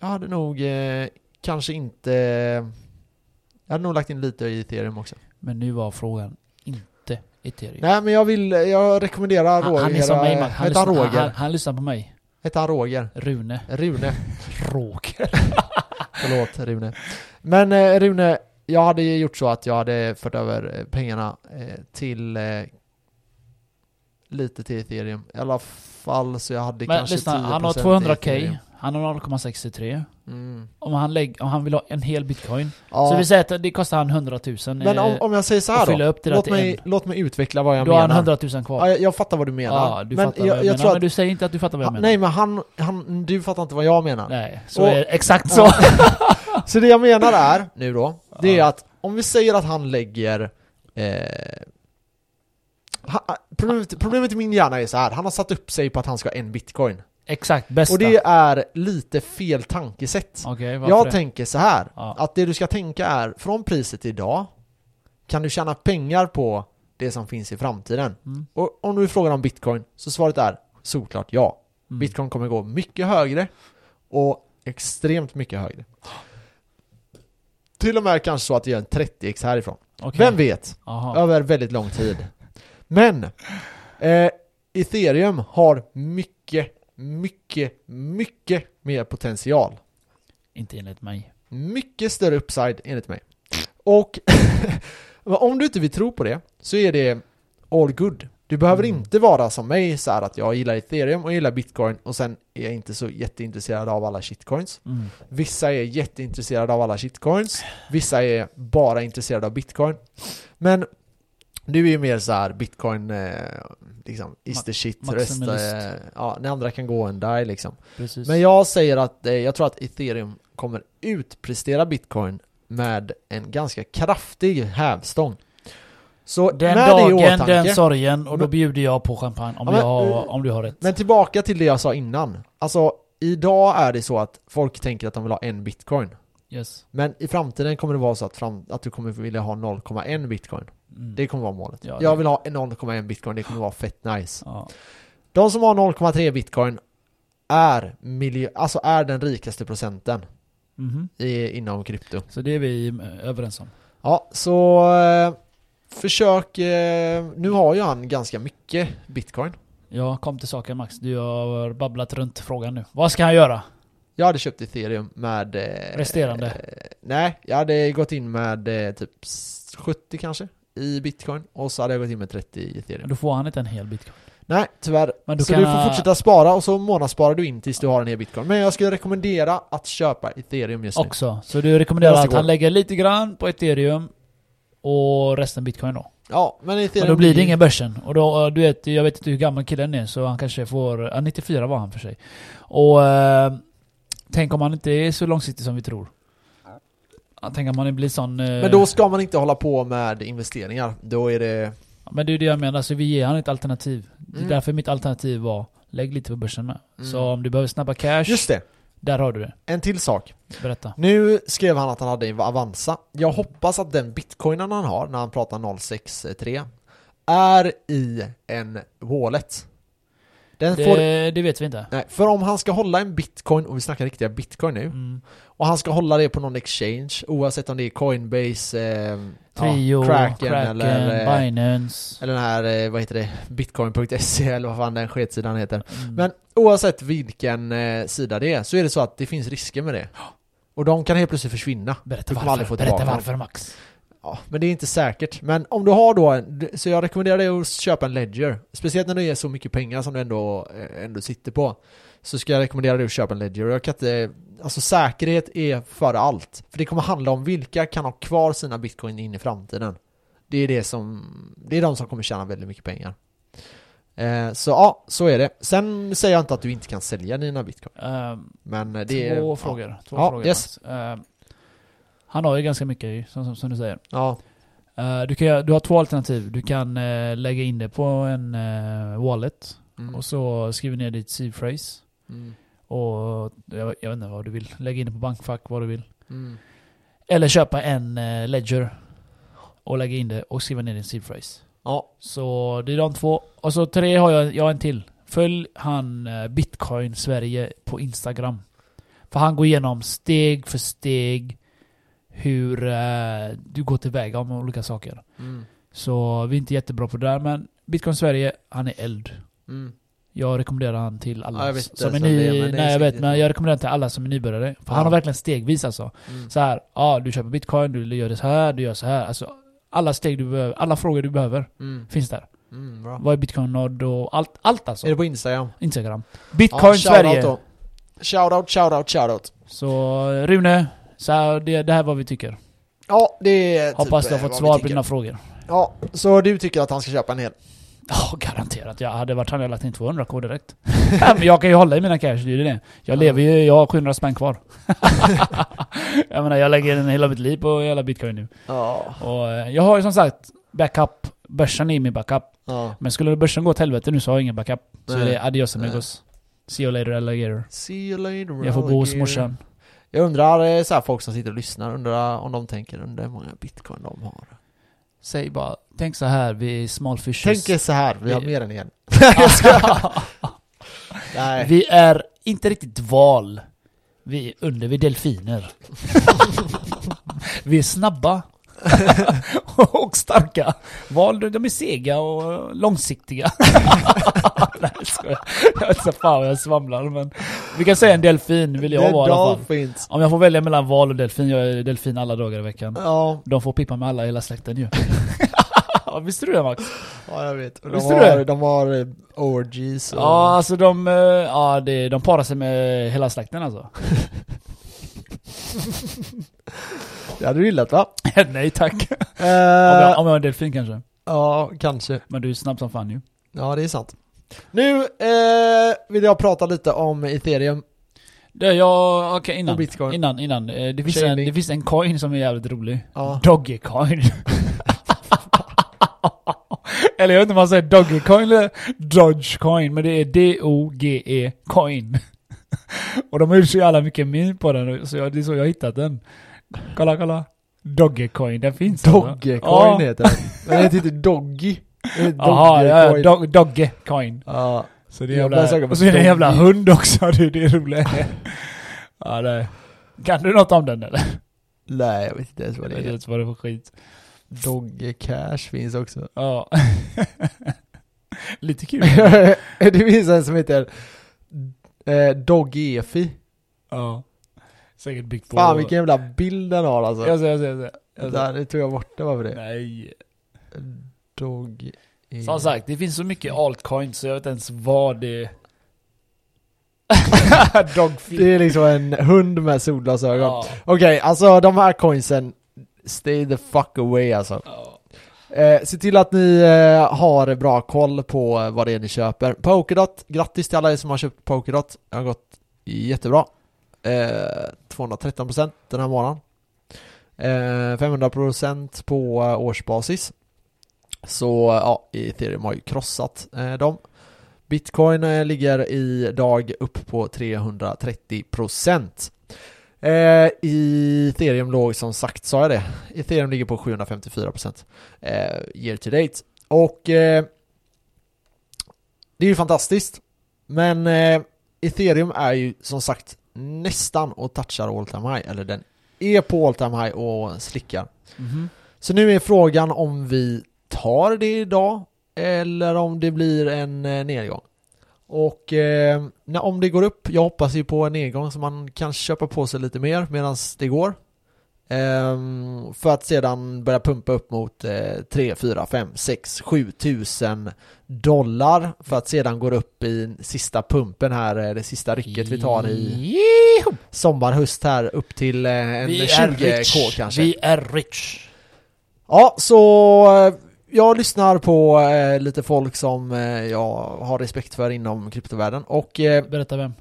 S1: jag hade nog eh, kanske inte... Jag hade nog lagt in lite i ethereum också.
S2: Men nu var frågan inte Ethereum.
S1: Nej men jag vill, jag rekommenderar
S2: han,
S1: Roger.
S2: han är som mig Max. Han,
S1: Hette han
S2: lyssnar, han, han,
S1: Roger?
S2: han lyssnar på mig.
S1: Hette han Roger?
S2: Rune.
S1: Rune.
S2: *laughs* Roger.
S1: *laughs* Förlåt Rune. Men eh, Rune, jag hade ju gjort så att jag hade fört över eh, pengarna eh, till eh, lite till ethereum. I alla fall så jag hade
S2: Men
S1: kanske
S2: lyssna,
S1: 10%
S2: han har
S1: i
S2: 200k.
S1: ethereum.
S2: Han har 0,63.
S1: Mm.
S2: Om han, lägg, om han vill ha en hel bitcoin.
S1: Ja.
S2: Så vi säger att det kostar han 100 000.
S1: Men om, om jag säger så
S2: och
S1: här
S2: fylla
S1: då.
S2: upp det där
S1: Låt
S2: till
S1: mig,
S2: en.
S1: låt mig utveckla vad jag
S2: då har han
S1: menar.
S2: 100 000 kvar.
S1: Ja, jag, jag fattar vad du menar.
S2: Ja, du
S1: men
S2: fattar
S1: jag,
S2: vad
S1: jag
S2: jag, menar.
S1: tror
S2: Men
S1: att... Ah,
S2: du säger inte att du fattar vad jag menar.
S1: Nej men han, han, du fattar inte vad jag menar.
S2: Nej, så
S1: Och-
S2: är
S1: *laughs*
S2: det exakt så.
S1: Så det jag menar är, nu då, det är
S2: Ja.
S1: att om vi säger att han lägger... Eh, ha, problemet, problemet i min hjärna är så här. han har satt upp sig på att han ska ha en bitcoin.
S2: exakt, bästa.
S1: Och det är lite fel tankesätt.
S2: Okej, varför
S1: jag
S2: det?
S1: tänker så här,
S2: Ja.
S1: att det du ska tänka är, från priset idag, kan du tjäna pengar på det som finns i framtiden?
S2: Mm.
S1: Och om du frågar om bitcoin, så svaret är såklart ja.
S2: Mm.
S1: Bitcoin kommer gå mycket högre och extremt mycket högre. Till och med kanske så att det gör en 30x härifrån.
S2: Okej.
S1: Vem vet?
S2: Aha.
S1: Över väldigt lång tid. Men eh, ethereum har mycket, mycket, mycket mer potential.
S2: Inte enligt mig.
S1: Mycket större upside enligt mig. Och *laughs* om du inte vill tro på det så är det all good. Du behöver
S2: Mm.
S1: inte vara som mig så här att jag gillar ethereum och jag gillar bitcoin och sen är jag inte så jätteintresserad av alla shitcoins.
S2: Mm.
S1: Vissa är jätteintresserade av alla shitcoins. Vissa är bara intresserade av bitcoin. Men du är ju mer så här bitcoin, eh, liksom is the shit, rest, eh,
S2: maximalist.
S1: ja, den andra kan gå en die liksom.
S2: Precis.
S1: Men jag säger att eh, jag tror att ethereum kommer utprestera bitcoin med en ganska kraftig hävstång. Så
S2: den
S1: med det i
S2: dagen,
S1: åtanke.
S2: den sorgen och då
S1: Men-
S2: bjuder jag på champagne om,
S1: Ja, men,
S2: jag, har,
S1: eh,
S2: om du har rätt.
S1: Men tillbaka till det jag sa innan. Alltså, idag är det så att folk tänker att de vill ha en bitcoin.
S2: yes.
S1: Men i framtiden kommer det vara så att, fram, att du kommer vilja ha 0,1 bitcoin.
S2: Mm.
S1: Det kommer vara målet.
S2: Ja, det-
S1: jag vill ha en 0,1 bitcoin, det kommer vara fett nice.
S2: ja.
S1: De som har 0,3 bitcoin är, miljö, alltså är den rikaste procenten
S2: Mhm.
S1: i, inom krypto.
S2: Så det är vi eh, överens om.
S1: Ja, så eh, försök... Eh, nu har ju han ganska mycket bitcoin.
S2: Jag kom till saken Max, du har babblat runt frågan nu. Vad ska han göra?
S1: Jag hade köpt ethereum med... Eh,
S2: Resterande.
S1: Eh, nej, jag hade gått in med eh, typ s- 70 kanske i bitcoin och så hade jag gått in med 30 i ethereum.
S2: Då får han inte en hel bitcoin.
S1: Nej, tyvärr.
S2: Men då
S1: så
S2: kan
S1: du får
S2: han-
S1: fortsätta spara och så månadssparar du in tills du har en hel bitcoin. Men jag skulle rekommendera att köpa ethereum just nu.
S2: Också. Så du rekommenderar
S1: Måste
S2: att
S1: gå.
S2: han lägger lite grann på ethereum och resten bitcoin då.
S1: Ja, men ethereum...
S2: Men då blir det ingen börsen. Och då, eh, du vet, jag vet inte hur gammal killen är så han kanske får... Ja, 94 var han för sig. Och eh, Tänk om man inte är så långsiktig som vi tror. Ja, Tänk om man blir sån... eh,
S1: Men då ska man inte hålla på med investeringar. Då är det...
S2: Men det är det jag menar, så vi ger han ett alternativ. Det är
S1: Mm.
S2: därför mitt alternativ var, lägg lite på börsen med.
S1: Mm.
S2: Så om du behöver snabba cash,
S1: Just det!
S2: där har du det.
S1: En till sak.
S2: Berätta.
S1: Nu skrev han att han hade en Avanza. Jag hoppas att den bitcoinen han har när han pratar 063 är i en wallet. Den får...
S2: Det, det vet vi inte.
S1: Nej, för om han ska hålla en bitcoin, och vi snackar riktiga bitcoin nu,
S2: Mm.
S1: och han ska hålla det på någon exchange, oavsett om det är Coinbase, eh, ja,
S2: Trio,
S1: Kraken,
S2: Kraken,
S1: eller, eh,
S2: Binance.
S1: eller den här, eh, vad heter det, bitcoin.se eller vad fan den sketsidan heter.
S2: Mm.
S1: Men oavsett vilken eh, sida det är, så är det så att det finns risker med det. Och de kan helt plötsligt försvinna.
S2: Berätta
S1: Du kommer aldrig få
S2: varför. Berätta
S1: tillbaka dem.
S2: varför Max.
S1: Ja, men det är inte säkert. Men om du har då en, så jag rekommenderar dig att köpa en Ledger. Speciellt när det är så mycket pengar som du ändå, eh, ändå sitter på. Så ska jag rekommendera dig att köpa en Ledger. Jag kan inte, alltså säkerhet är före allt. För det kommer handla om vilka kan ha kvar sina bitcoin in i framtiden. Det är det som, det är de som kommer tjäna väldigt mycket pengar. Eh, så ja, så är det. Sen säger jag inte att du inte kan sälja dina bitcoin.
S2: Ehm,
S1: Men eh, det
S2: två
S1: är...
S2: frågor. Två
S1: Ja,
S2: frågor
S1: yes.
S2: Max. Ehm, han har ju ganska mycket ju, som, som, som du säger.
S1: Ja,
S2: Eh, du, kan, göra- du har två alternativ. Du kan eh, lägga in det på en eh, wallet
S1: ja. Mm.
S2: och så skriver ner ditt seed phrase.
S1: Mm.
S2: Och jag, jag vet inte vad du vill. Lägg in det på bankfack, vad du vill.
S1: Mm.
S2: Eller köpa en eh, ledger och lägga in det och skriva ner din seed phrase.
S1: ja.
S2: Så det är de två. Och så tre har jag, jag har en till. Följ han eh, Bitcoin Sverige på Instagram. För han går igenom steg för steg hur eh, du går tillväga om olika saker.
S1: Mm.
S2: Så vi är inte jättebra på det där men Bitcoin Sverige, han är eld.
S1: Mm.
S2: Jag rekommenderar han till alla
S1: Ja, jag vet inte
S2: som är
S1: ens vem det är,
S2: ny...
S1: men det är
S2: nej jag vet,
S1: säkert
S2: men
S1: någon.
S2: jag rekommenderar han till alla som är nybörjare. För
S1: Ja.
S2: han har verkligen stegvis alltså.
S1: Mm.
S2: Så här, ja du köper bitcoin, du gör det så här, du gör så här. Alltså alla steg du behöver, alla frågor du behöver
S1: Mm.
S2: finns där.
S1: Mm, bra.
S2: Vad är bitcoin nod och allt, allt alltså.
S1: Är det på Instagram?
S2: Instagram. Bitcoin Sverige.
S1: Shoutout, shoutout, shoutout.
S2: Så Rune, så här, det, det här är vad vi tycker.
S1: Ja, det är
S2: Hoppas
S1: typ,
S2: du har
S1: eh,
S2: fått
S1: vad
S2: svar
S1: vi
S2: på
S1: tycker.
S2: dina frågor. *laughs*
S1: Ja, så du tycker att han ska köpa en hel?
S2: Ja, garanterat. Jag hade varit han hade jag lagt in 200k direkt. *laughs* Ja, Men jag kan ju hålla i mina cash, det är ju det. Jag lever ju, jag har 700 spänn kvar. *laughs* jag menar, jag lägger in hela mitt liv på hela bitcoin nu.
S1: Ja.
S2: Och eh, jag har ju som sagt backup. Börsen är min backup.
S1: ja.
S2: Men skulle börsen gå åt helvete nu så har jag ingen backup. Så
S1: Nej.
S2: det är adios
S1: Nej.
S2: amigos. See you later alligator.
S1: See you later,
S2: Jag får bo hos
S1: alligator.
S2: morsan.
S1: Jag undrar, eh, så här, folk som sitter och lyssnar, undrar om de tänker undrar hur många bitcoin de har.
S2: Säg bara, tänk så här, vi är small fishes.
S1: Tänk
S2: *laughs*
S1: er så här, vi har
S2: Vi-
S1: mer än en. *laughs* Nej.
S2: vi är inte riktigt val. Vi är under, vi är delfiner. *laughs* vi är snabba. *laughs* och starka. Val, de är sega och långsiktiga. *laughs* Nej, jag skojar. Jag vet inte fan vad jag svamlar men. Vi kan säga en delfin vill jag vara i alla fall.
S1: Dolphins.
S2: Om jag får välja mellan val och delfin, jag är delfin alla dagar i veckan.
S1: Ja,
S2: De får pippa med alla i hela släkten ju. *laughs* Visste du det Max?
S1: ja, jag vet. De
S2: Visste du
S1: har,
S2: det?
S1: de har eh, orgies och...
S2: Ja, alltså de, eh, ja, det, de parar sig med hela släkten alltså. *laughs*
S1: Det hade du gillat va?
S2: Nej tack. Om
S1: Eh,
S2: jag, om jag är en delfin kanske.
S1: ja, kanske.
S2: Men du är snabb som fan ju.
S1: Ja, det är sant. Nu eh, vill jag prata lite om ethereum
S2: Det, jag, okej
S1: och
S2: innan.
S1: bitcoin.
S2: Innan, innan. Eh, Det finns, en,
S1: Försäljning.
S2: det finns en coin som är jävligt rolig.
S1: Ja.
S2: Dogecoin. *laughs* eller jag vet inte om man säger Dogecoin eller Dogecoin. Men det är D-O-G-E E coin. *laughs* Och de har gjort så jävla mycket meme på den. Så jag, det är så jag har hittat den. Kolla, kolla. Dogecoin, den finns alltså.
S1: Doggecoin
S2: Ja.
S1: heter den. Men den heter inte Doggy. Den heter
S2: Jaha, ja,
S1: Doggecoin.
S2: dog, dogge coin.
S1: Ja.
S2: Så det är
S1: Jag
S2: jävla,
S1: börjar söka på
S2: och så är det en
S1: dogge.
S2: jävla hund också, det, det är *laughs* roligt. ja, det. Kan du något om den eller?
S1: Nej, jag vet inte ens vad
S2: Jag
S1: det
S2: vet
S1: är.
S2: inte vad det är för skit.
S1: Doggecash finns
S2: *laughs*
S1: också.
S2: Ja. Lite kul.
S1: det finns en som heter eh, Doggefi.
S2: *laughs* ja. Säkert byggt på...
S1: Fan vilken jävla bild den har alltså.
S2: Jag ser, jag ser, jag ser. Jag ser.
S1: Där, det tog jag bort den bara för det. E
S2: Nej.
S1: Dogge...
S2: Som sagt, *laughs* det finns så mycket altcoins så jag vet inte ens vad det... Dogfin.
S1: Det är liksom en hund med solglasögon.
S2: Ja.
S1: Okej, alltså de här coinsen, stay the fuck away alltså.
S2: Ja.
S1: Eh, se till att ni eh, har bra koll på eh, vad det är ni köper. Polkadot, grattis till alla er som har köpt Polkadot. Det har gått jättebra. Eh, 213% den här månaden. Eh, 500% på eh, årsbasis. Så eh, ja, ethereum har ju krossat eh, dem. Bitcoin eh, ligger idag upp på 330%. Eh, ethereum låg som sagt, sa jag det? Ethereum ligger på 754% eh, year to date. Och eh, det är ju fantastiskt. Men eh, ethereum är ju som sagt nästan och touchar all time high. Eller den är på all time high och slickar.
S2: Mhm.
S1: Så nu är frågan om vi tar det idag eller om det blir en eh, nedgång. Och eh, när, om det går upp, jag hoppas ju på en nedgång så man kan köpa på sig lite mer medan det går. Ehm, för att sedan börja pumpa upp mot eh, 3, 4, 5, 6, 7 tusen dollar. För att sedan gå upp i sista pumpen här, eh, det sista rycket vi tar i
S2: Yeeho!
S1: sommar, höst här upp till eh, en
S2: Vi är
S1: 20k
S2: rich.
S1: kanske.
S2: Vi är rich.
S1: Ja, så eh, jag lyssnar på eh, lite folk som eh, jag har respekt för inom kryptovärlden och eh,
S2: Berätta vem?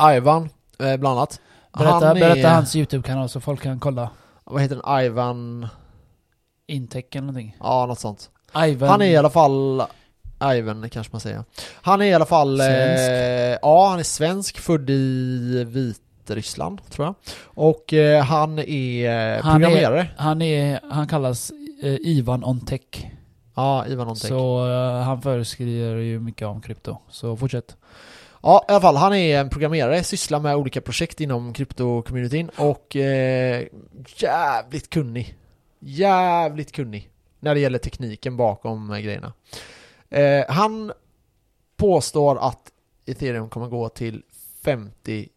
S1: Ivan eh, bland annat.
S2: Berätta,
S1: Han är-
S2: berätta hans YouTube-kanal så folk kan kolla.
S1: Vad heter den? Ivan?
S2: Intech eller någonting.
S1: Ja, något sånt.
S2: Ivan.
S1: Han är i alla fall Ivan kanske man säger. Han är i alla fall...
S2: Svensk.
S1: Eh, ja, han är svensk, född i Vitryssland tror jag. Och eh, han är eh,
S2: Han är-
S1: programmerare.
S2: Han, är, han kallas eh, Ivan on Tech.
S1: Ja, Ivan Ontek.
S2: Så eh, han föreskriver ju mycket om krypto. Så fortsätt.
S1: Ja, i alla fall. Han är en programmerare, sysslar med olika projekt inom krypto-communityn och eh, jävligt kunnig. Jävligt kunnig när det gäller tekniken bakom eh, grejerna. Eh, han påstår att ethereum kommer gå till 50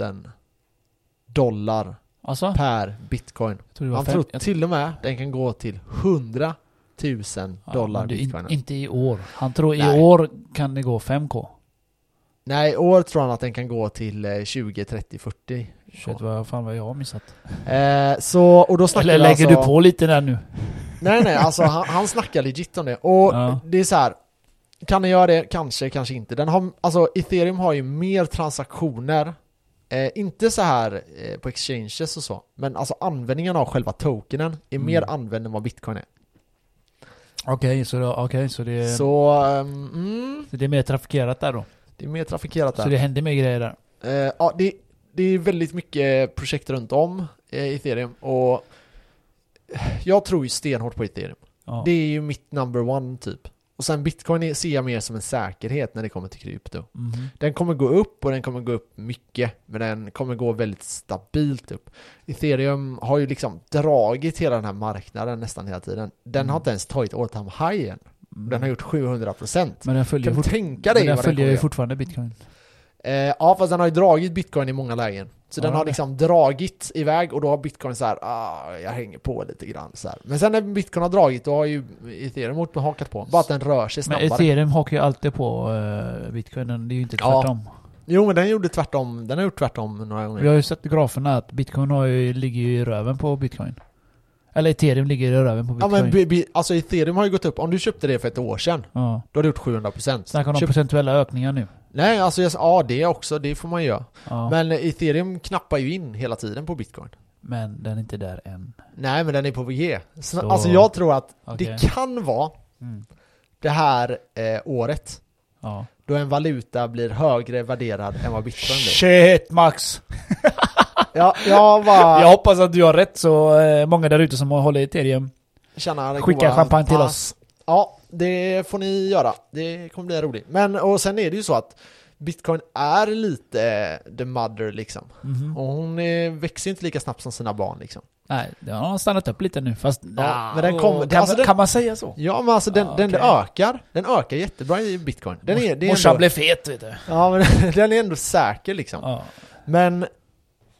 S1: 000 dollar
S2: Alltså?
S1: per bitcoin.
S2: jag tror det var
S1: Han
S2: fem-
S1: tror
S2: jag-
S1: till och med den kan gå till 100 000
S2: Ja,
S1: dollar
S2: men det är
S1: bitcoin.
S2: in, inte i år. Han tror
S1: Nej.
S2: i år kan det gå 5K.
S1: Nej, i år tror han att den kan gå till eh, 20, 30, 40
S2: Shit, vad fan vad jag har missat.
S1: Eh, så, och då snackar
S2: Eller
S1: vi
S2: lägger
S1: alltså,
S2: du på lite där nu?
S1: Nej nej, alltså han, han snackar legit om det. Och
S2: Ja.
S1: det är så här. Kan den göra det? Kanske, kanske inte. Den har, alltså ethereum har ju mer transaktioner. Eh, inte så här eh, på exchanges och så. Men alltså användningen av själva tokenen är
S2: Mm.
S1: mer använd än vad bitcoin är.
S2: Okej, så, då- okej, så, det, så
S1: Så, ehm, mm,
S2: det är mer trafikerat där då?
S1: det är mer trafikerat där.
S2: Så det händer mer grejer där?
S1: Eh, ja, det, det är väldigt mycket projekt runt om eh, ethereum och jag tror ju stenhårt på ethereum.
S2: Ja.
S1: Det är ju mitt number one typ. Och sen bitcoin är- ser jag mer som en säkerhet när det kommer till krypto.
S2: Mhm.
S1: Den kommer gå upp och den kommer gå upp mycket, men den kommer gå väldigt stabilt upp. Ethereum har ju liksom dragit hela den här marknaden nästan hela tiden. Den har
S2: Mm.
S1: inte ens tagit all time high än.
S2: Mm.
S1: Den har gjort 700%.
S2: Men den
S1: Du
S2: följer,
S1: kan
S2: fort,
S1: tänka
S2: men
S1: dig vad
S2: den
S1: den
S2: följer ju
S1: kommer fort-
S2: fortfarande bitcoin.
S1: eh, Ja, fast den har ju dragit bitcoin i många lägen. Så
S2: Ja,
S1: den har
S2: det.
S1: liksom dragit iväg och då har bitcoin så här, ah, jag hänger på lite grann så här. Men sen när bitcoin har dragit, då har ju ethereum mot- hakat på. Bara att den rör sig
S2: Men
S1: snabbare.
S2: ethereum hakar ju alltid på eh, bitcoinen, det är ju inte
S1: Ja.
S2: tvärtom.
S1: Jo men den gjorde tvärtom, den har gjort tvärtom några gånger.
S2: Vi har ju sett i graferna att bitcoin har ju, ligger ju i röven på bitcoin. Eller ethereum ligger i röven på
S1: Ja
S2: bitcoin.
S1: men bi- bi- alltså ethereum har ju gått upp, om du köpte det för ett år sedan,
S2: ja.
S1: då har du gjort 700%.
S2: Snacka om
S1: Köp-
S2: procentuella ökningar nu.
S1: Nej alltså jag, ja det också, det får man ju göra.
S2: Ja. Men,
S1: Men ethereum knappar ju in hela tiden på bitcoin.
S2: den är inte där än.
S1: Nej men den är på G. Så,
S2: Så-
S1: Alltså jag tror att
S2: Okej.
S1: det kan vara
S2: Mm.
S1: det här eh, året
S2: Ja.
S1: då en valuta blir högre värderad än vad bitcoin
S2: *laughs*
S1: blir.
S2: Shit Max!
S1: Ja, jag bara
S2: Jag hoppas att du har rätt så eh, många där ute som har hållit ethereum
S1: tjänar den
S2: skickar
S1: goa
S2: champagne till
S1: pass.
S2: oss.
S1: Ja, det får ni göra. Det kommer bli roligt. Men och sen är det ju så att Bitcoin är lite the mother liksom.
S2: Mhm.
S1: Och hon eh, växer ju inte lika snabbt som sina barn liksom.
S2: Nej, den har stannat upp lite nu fast...
S1: Ja, men den kommer-
S2: kan,
S1: alltså den-
S2: kan man säga så?
S1: Ja men alltså den,
S2: Ja,
S1: den
S2: okej.
S1: ökar. Den ökar jättebra i Bitcoin. Den är, det är
S2: Morsan
S1: ändå,
S2: blev fet vet du.
S1: Ja men *laughs* den är ändå säker liksom.
S2: Ja.
S1: Men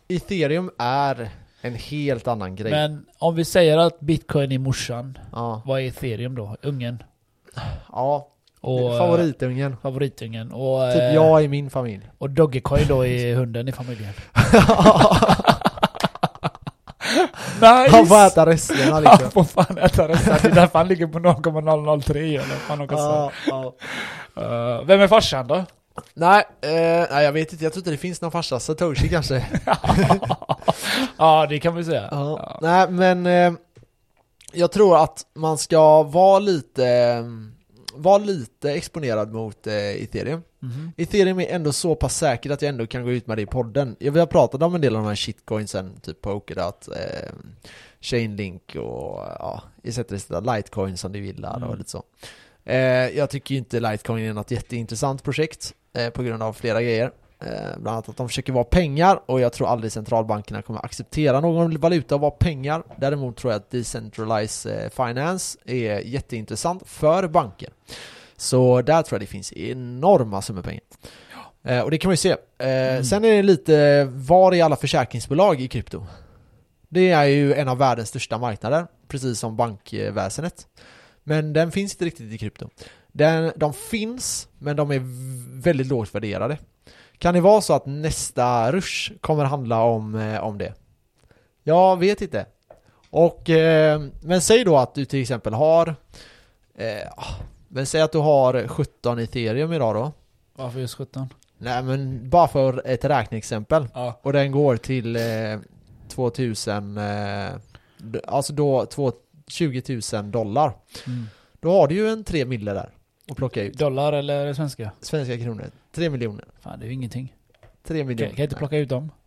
S1: Ethereum är en helt annan grej.
S2: Men om vi säger att bitcoin är morsan,
S1: Ja,
S2: vad är ethereum då? Ungen?
S1: ja.
S2: Och, eh,
S1: favoritungen.
S2: Favoritungen. Och,
S1: Typ
S2: eh,
S1: jag i min familj.
S2: och Dogecoin
S1: *laughs*
S2: då är hunden i familjen.
S1: Han får
S2: *laughs*
S1: äta resterna liksom.
S2: Han får fan äta resten. Det är därför han ligger på 0,003 eller vad fan de kan säga.
S1: Ja, ja.
S2: Eh, Vem är farsan då?
S1: *laughs* Nej, eh, nej jag vet inte, jag tror inte det finns någon farsa, Satoshi kanske
S2: ja, det kan vi säga.
S1: ja.
S2: *laughs* Ja.
S1: *laughs* Nej men eh, Jag tror att man ska vara lite eh, Vara lite exponerad mot eh, ethereum
S2: Mhm.
S1: Ethereum är ändå så pass säkert att jag ändå kan gå ut med det i podden Jag- Vi har pratat om en del av de här shitcoinsen, typ Polkadot, eh, Chainlink och ja, etc. Litecoin som du gillar och
S2: Mm.
S1: lite så eh, Jag tycker ju inte Litecoin är något jätteintressant projekt eh, på grund av flera grejer eh, Bland annat att de försöker vara pengar och jag tror aldrig centralbankerna kommer acceptera någon valuta att vara pengar Däremot tror jag att decentralized eh, finance är jätteintressant för banker så där tror jag det finns enorma summor pengar. Eh, och det kan man ju se. Eh,
S2: Mm.
S1: Sen är det lite, var är alla försäkringsbolag i krypto? Det är ju en av världens största marknader, precis som bankväsendet. Men den finns inte riktigt i krypto. Den, de finns, men de är v- väldigt lågt värderade. Kan det vara så att nästa rush kommer handla om, eh, om det? Jag vet inte. Och, eh, men säg då att du till exempel har eh, men säg att du har 17 ethereum idag då.
S2: Varför just 17?
S1: Nej men bara för ett räkneexempel.
S2: Ja.
S1: Och den går till eh, 2000, eh, d- alltså då två, 20 000 dollar.
S2: Mm.
S1: Då har du ju en 3 mille där och plocka ut.
S2: Dollar eller svenska?
S1: Svenska kronor, 3 miljoner.
S2: Fan, det är ju ingenting.
S1: 3
S2: Kan,
S1: miljoner.
S2: kan jag inte plocka
S1: *laughs*
S2: ut dem? *laughs*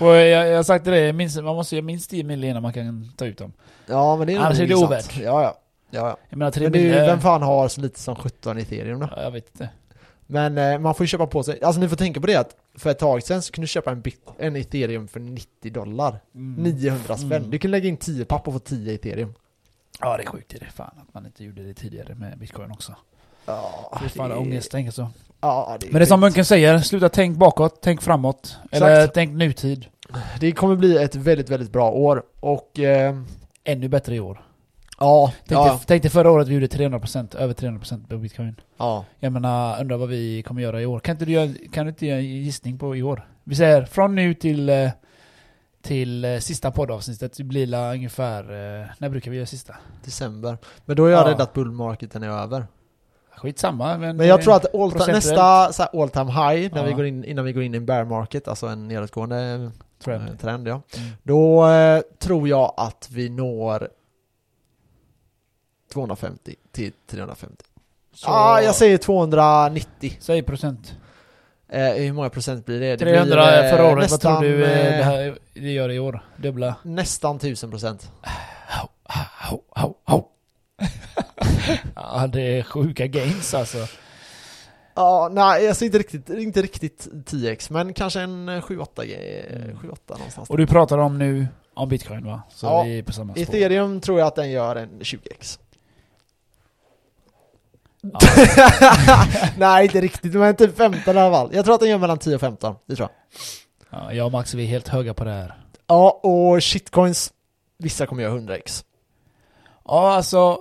S2: Och jag, jag har sagt till dig, minst, man måste göra minst 10 mil innan man kan ta ut dem.
S1: Ja men det är nog
S2: Annars är det
S1: sant.
S2: ovärt.
S1: Ja ja. ja, ja.
S2: Jag menar 3
S1: Men det är
S2: mil...
S1: ju,
S2: eh,
S1: vem fan har så lite som 17 ethereum då?
S2: ja, jag vet inte.
S1: Men eh, man får ju köpa på sig, alltså ni får tänka på det att för ett tag sedan så kunde du köpa en, bit, en ethereum för 90 dollar.
S2: Mm.
S1: 900 spänn.
S2: Mm.
S1: Du kan lägga in 10 papp och få 10 ethereum.
S2: Ja, det är sjukt. Det är fan att man inte gjorde det tidigare med bitcoin också.
S1: Ja,
S2: Det är fan ångest, tänk så.
S1: Ja, Ah, det är
S2: Men det är som
S1: sjukt.
S2: Munken säger, sluta tänk bakåt, tänk framåt. Eller
S1: Exakt.
S2: tänk nutid.
S1: Det kommer bli ett väldigt, väldigt bra år. Och eh,
S2: Ännu bättre i år.
S1: ja,
S2: Tänk, dig,
S1: ja,
S2: tänk dig förra året vi gjorde 300%, över 300% på bitcoin.
S1: ja.
S2: Jag menar, undrar vad vi kommer göra i år. Kan inte du, göra, kan du inte göra en gissning på i år? Vi säger från nu till, eh, till eh, sista poddavsnittet, det blir la ungefär, eh, när brukar vi göra sista?
S1: december. Men då är jag
S2: Ja.
S1: rädd att bullmarketen är över.
S2: Skitsamma men...
S1: Men jag
S2: eh,
S1: tror att all time,
S2: procentuellt.
S1: nästa så här all time high, när
S2: Ja.
S1: vi går in, innan vi går in i en bear market, alltså en nedåtgående
S2: Trend.
S1: trend, trend ja.
S2: Mm.
S1: Då eh, tror jag att vi når 250 till 350.
S2: Så,
S1: Ja, ah, jag säger 290.
S2: Säg procent.
S1: Eh, hur många procent blir det? det
S2: 300
S1: blir, eh,
S2: förra året,
S1: nästan,
S2: vad tror du eh, det,
S1: eh,
S2: här, det gör i år? Dubbla?
S1: Nästan 1000 procent.
S2: Ho, ho, ho. *laughs* ja, det är sjuka gains alltså.
S1: Ja, nej, alltså inte riktigt, inte riktigt 10x, men kanske en eh, 7-8 eh,
S2: Mm.
S1: 7-8 någonstans.
S2: Och du pratar om nu, om bitcoin va? Så
S1: Ja.
S2: vi är på samma spår.
S1: Ethereum tror jag att den gör en 20x.
S2: Ja.
S1: *laughs* nej, inte riktigt, men typ 15 i alla fall. Jag tror att den gör mellan 10 och 15, det tror jag.
S2: Ja, jag och Max vi är helt höga på det här.
S1: Ja, och shitcoins, vissa kommer göra 100x.
S2: Ja, alltså...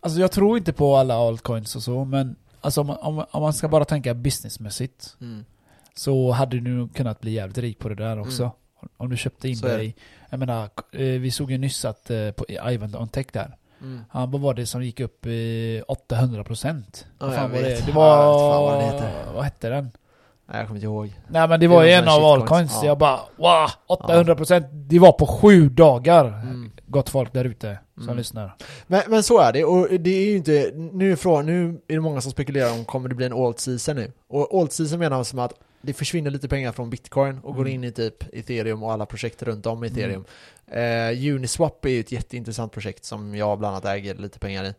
S2: Alltså jag tror inte på alla altcoins och så, men alltså om, man- om, om man ska bara tänka businessmässigt
S1: Mm.
S2: så hade du nog kunnat bli jävligt rik på det där också.
S1: Mm.
S2: Om du köpte in
S1: Så är det.
S2: dig. Jag menar, eh, vi såg ju nyss att eh, på Ivan on Tech där,
S1: Mm.
S2: han, vad var det som gick upp eh, 800%?
S1: Ja,
S2: Vad
S1: jag
S2: fan var
S1: vet.
S2: det? det
S1: Ja,
S2: var...
S1: jag vet fan vad den heter.
S2: Vad hette den?
S1: Nej, jag kommer inte ihåg.
S2: Nej men det
S1: Det
S2: var
S1: är
S2: ju
S1: de
S2: en
S1: som
S2: av
S1: är
S2: altcoins.
S1: shitcoins. Ja.
S2: Jag bara wow, 800%! Det var på sju dagar.
S1: Mm.
S2: Gott folk där ute som
S1: Mm.
S2: lyssnar.
S1: Men, men så är det, och det är ju inte, nu är, frågan, nu är det många som spekulerar om kommer det bli en alt season nu? Och alt season menar man som att det försvinner lite pengar från bitcoin och går
S2: Mm.
S1: in i typ ethereum och alla projekt runt om ethereum. Eh, Uniswap är ju ett jätteintressant projekt som jag bland annat äger lite pengar i.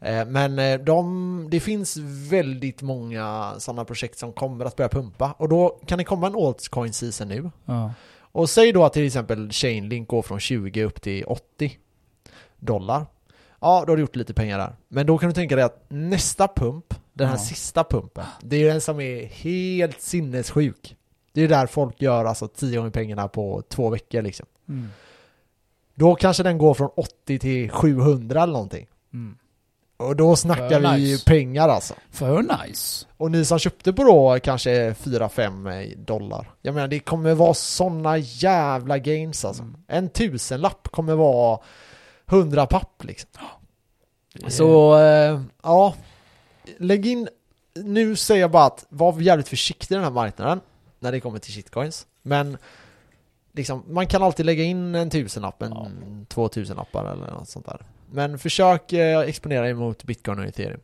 S1: Eh, Men eh, de, det finns väldigt många sådana projekt som kommer att börja pumpa och då kan det komma en altcoin season nu
S2: Ja.
S1: och säg då att till exempel Chainlink går från 20 upp till 80 dollar. Ja, då har du gjort lite pengar där. Men då kan du tänka dig att nästa pump, den här
S2: Ja.
S1: sista pumpen, det är ju den som är helt sinnessjuk. Det är där folk gör alltså 10 gånger pengarna på två veckor liksom.
S2: Mm.
S1: Då kanske den går från 80 till 700 eller någonting.
S2: Mm.
S1: Och då snackar
S2: Ja,
S1: vi ju
S2: nice.
S1: pengar alltså.
S2: För nice.
S1: Och ni som köpte på då kanske 4-5 dollar. Jag menar det kommer vara sådana jävla gains alltså.
S2: Mm.
S1: En tusenlapp kommer vara 100 papp liksom.
S2: är-
S1: Så eh, ja, eh, lägg in nu säger jag bara att var jävligt försiktig i den här marknaden när det kommer till shitcoins. Men liksom, man kan alltid lägga in en tusenlapp, en
S2: Ja.
S1: två tusenlappar eller något sånt där. Men försök eh, exponera emot bitcoin och ethereum.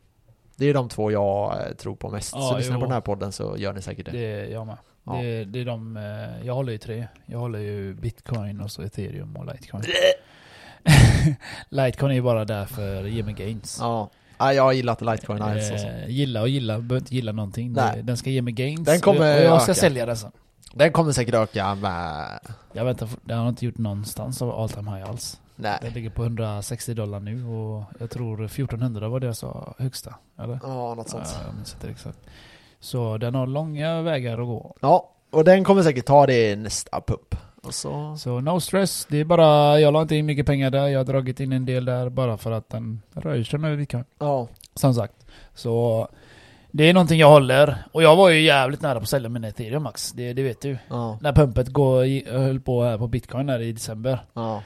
S1: Det är de två jag eh, tror på mest.
S2: Ja,
S1: så lyssnar ni på
S2: jo.
S1: den här podden så gör ni säkert det.
S2: Det är jag med.
S1: Ja.
S2: Det, det är de, eh, jag håller ju tre. Jag håller ju bitcoin och så ethereum och litecoin. *laughs* litecoin är ju bara där för att ge mig gains.
S1: Ja. Nej, jag har gillat litecoin alls. Alltså.
S2: Eh, gilla och gilla, behöver inte gilla någonting.
S1: Nej.
S2: Det- Den ska ge mig gains
S1: Den kommer
S2: och jag ska
S1: öka.
S2: sälja den sen.
S1: Den kommer säkert öka med...
S2: Jag väntar, för- den har inte gjort någonstans av all time high alls. Den
S1: Nej.
S2: ligger på 160 dollar nu och jag tror 1400 var det jag sa högsta. Eller?
S1: Ja, något sånt.
S2: Ja, jag minns inte exakt. Så den har långa vägar att gå.
S1: Ja, och den kommer säkert ta det i nästa pump. Och så...
S2: Så no stress, det är bara, jag la inte in mycket pengar där, jag har dragit in en del där bara för att den rör sig med bitcoin.
S1: Ja.
S2: Som sagt. Så det är någonting jag håller. Och jag var ju jävligt nära på att sälja min ethereum max, det, det vet du.
S1: Ja.
S2: När pumpet går, i- höll på här på bitcoin här i december.
S1: Ja.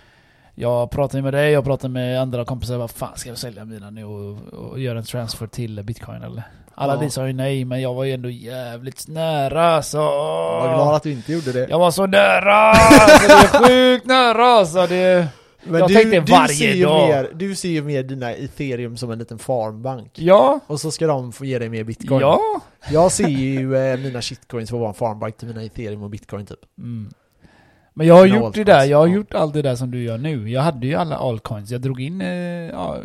S2: Jag pratade med dig, jag pratade med andra kompisar. Vad fan ska jag sälja mina nu och, och göra en transfer till bitcoin eller? Alla
S1: Ja.
S2: vi sa ju nej, men jag var ju ändå jävligt nära så...
S1: Jag var glad att du inte gjorde det.
S2: Jag var så nära! Alltså, det är sjukt nära alltså! Det...
S1: Men
S2: jag
S1: du,
S2: tänkte
S1: du
S2: varje
S1: ser ju
S2: dag.
S1: Mer, du ser ju mer dina ethereum som en liten farmbank.
S2: Ja,
S1: Och så ska de få ge dig mer bitcoin.
S2: ja.
S1: Jag ser ju eh, mina shitcoins få vara en farmbank till mina ethereum och bitcoin typ.
S2: Mm. Men jag har
S1: Dina
S2: gjort det
S1: altcoins,
S2: där, jag har
S1: ja.
S2: gjort allt det där som du gör nu. Jag hade ju alla altcoins, jag drog in, eh, ja,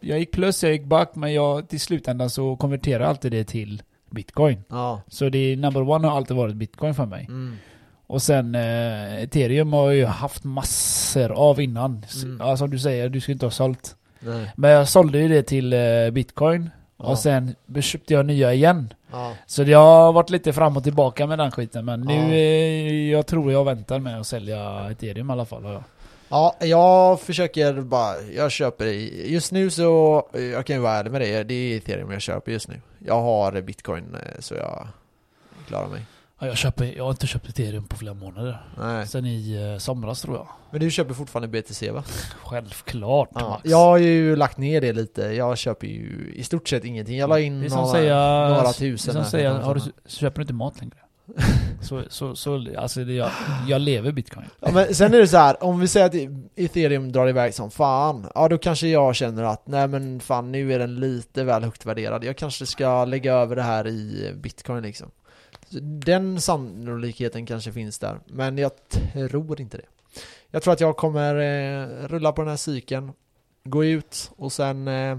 S2: jag gick plus, jag gick back, men jag, till slutändan så konverterade jag alltid det till bitcoin.
S1: Ja.
S2: Så det är number one har alltid varit bitcoin för mig.
S1: Mm.
S2: Och sen eh, ethereum har jag ju haft massor av innan. S-
S1: Mm.
S2: Ja, som du säger, du ska inte ha sålt.
S1: Nej.
S2: Men jag sålde ju det till eh, bitcoin.
S1: Ja.
S2: Och sen köpte jag nya igen.
S1: Ja.
S2: Så det har varit lite fram och tillbaka med den skiten men
S1: Ja.
S2: nu, eh, jag tror jag väntar med att sälja ethereum i alla fall har jag.
S1: Ja, jag försöker bara, jag köper, i- just nu så, eh, jag kan ju vara ärlig med det, det är ethereum jag köper just nu. Jag har bitcoin eh, så jag klarar mig.
S2: Ja, jag, köper, jag har inte köpt ethereum på flera månader.
S1: Nej.
S2: Sen i eh, somras tror jag.
S1: Men du köper fortfarande BTC va?
S2: Självklart
S1: Ja.
S2: Max.
S1: Jag har ju lagt ner det lite, jag köper ju i stort sett ingenting. Jag la in
S2: Mm. det är som
S1: några,
S2: säga,
S1: några tusen.
S2: Det
S1: här
S2: är som
S1: för
S2: säga,
S1: några
S2: har du,
S1: sådana.
S2: köper du inte
S1: *laughs*
S2: mat längre? så, så, så, alltså det, jag, jag lever bitcoin.
S1: Ja, men sen är det så här, om vi säger att E- ethereum drar iväg som fan, ja då kanske jag känner att nej men fan nu är den lite väl högt värderad. Jag kanske ska lägga över det här i bitcoin liksom. Så Den sannolikheten kanske finns där, men jag tror inte det. Jag tror att jag kommer eh, rulla på den här cykeln, gå ut och sen eh,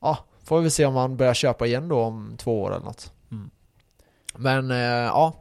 S1: ja, får vi se om man börjar köpa igen då om två år eller något.
S2: Mm.
S1: Men eh, ja,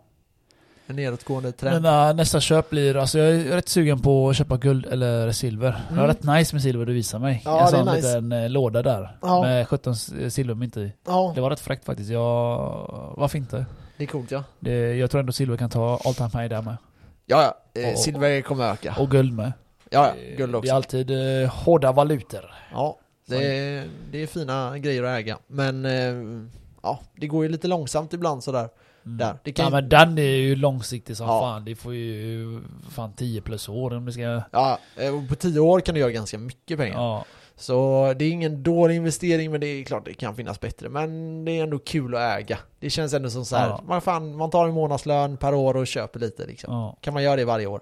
S1: en nedåtgående trend.
S2: Mina eh, nästa köp blir, alltså jag är rätt sugen på att köpa guld eller silver. Det
S1: Mm.
S2: var rätt nice med silver du visade mig.
S1: Ja,
S2: en
S1: det är
S2: sån
S1: nice.
S2: liten eh, låda där.
S1: Ja.
S2: Med 17 s- silvermynt i.
S1: Ja.
S2: Det var rätt fräckt faktiskt. Jag, varför inte?
S1: Det är coolt ja.
S2: Det, jag tror ändå silver kan ta all time high där med.
S1: Ja, ja. Eh,
S2: Och-
S1: silver kommer öka.
S2: Och guld med.
S1: Ja, ja. Guld
S2: Det är
S1: också.
S2: alltid eh, hårda valutor.
S1: Ja, det är, det är fina grejer att äga. Men eh, ja, det går ju lite långsamt ibland sådär.
S2: Mm.
S1: Där. Det kan
S2: ja,
S1: ju-
S2: men den är ju långsiktig som
S1: Ja.
S2: fan. Det får ju fan 10 plus år om det ska...
S1: Ja, eh, och på tio år kan du göra ganska mycket pengar.
S2: Ja.
S1: Så det är ingen dålig investering, men det är klart det kan finnas bättre. Men det är ändå kul att äga. Det känns ändå som så här,
S2: Ja.
S1: man, fan, man tar en månadslön per år och köper lite liksom.
S2: Ja.
S1: Kan man göra det varje år?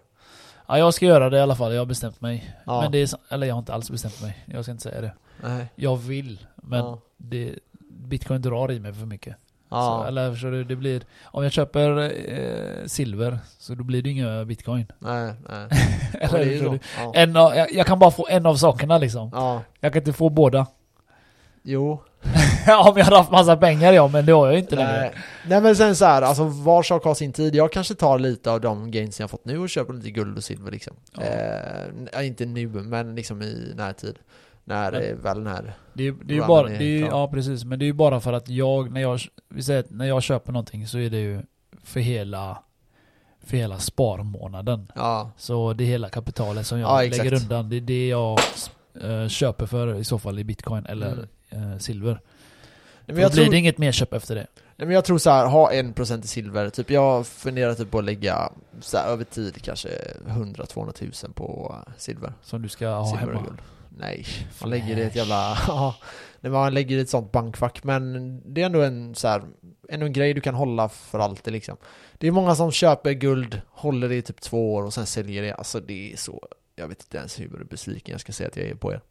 S2: ja, jag ska göra det i alla fall. Jag har bestämt mig.
S1: Ja.
S2: Men det är, så- eller jag har inte alls bestämt mig. Jag ska inte säga det.
S1: Nej.
S2: Jag vill, men
S1: Ja.
S2: det, bitcoin drar i mig för mycket. Så,
S1: Ja.
S2: eller förstår du, det blir... Om jag köper eh, silver, så då blir det inga bitcoin.
S1: Nej, nej. Ja,
S2: *laughs* Eller
S1: det är
S2: hur Eh.
S1: ju
S2: tror
S1: så.
S2: du?
S1: Ja.
S2: En av, jag, jag kan bara få en av sakerna liksom.
S1: ja.
S2: Jag kan inte få båda. *laughs*
S1: Jo.
S2: Om jag hade haft massa pengar ja, men det har jag ju inte längre.
S1: Nej. Nej men sen så här, alltså var sak har sin tid. Jag kanske tar lite av de gains jag fått nu och köper lite guld och silver liksom.
S2: Ja.
S1: Eh, n- inte nu, men liksom i närtid. När
S2: Men-
S1: eh, väl den här...
S2: Det, är- det är ju
S1: Runnen
S2: bara,
S1: är
S2: det är, ju-
S1: klar.
S2: ja precis, men det är ju bara för att jag, när jag, vi säger att när jag köper någonting så är det ju för hela, för hela sparmånaden.
S1: Ja,
S2: Så det är hela kapitalet som
S1: Ja,
S2: jag
S1: exakt.
S2: lägger undan. Det är det jag eh, köper för i så fall i bitcoin eller eh, silver.
S1: Nej, Mm. men
S2: Men jag
S1: jag
S2: då blir
S1: tror,
S2: det inget mer köp efter det.
S1: nej, men jag tror så här, ha en procent i silver. Typ jag funderar typ på att lägga så här, över tid kanske 100-200 tusen på eh, silver.
S2: Som du ska ha
S1: silver och
S2: hemma.
S1: guld. Nej, man lägger det i ett jävla... *laughs* Ja, nej, man lägger det i ett sånt bankfack. Men det är ändå en, så här, ändå en grej du kan hålla för alltid liksom. Det är många som köper guld, håller det i typ två år och sen säljer det. Alltså det är så... Jag vet inte ens hur besviken jag ska säga att jag är på er.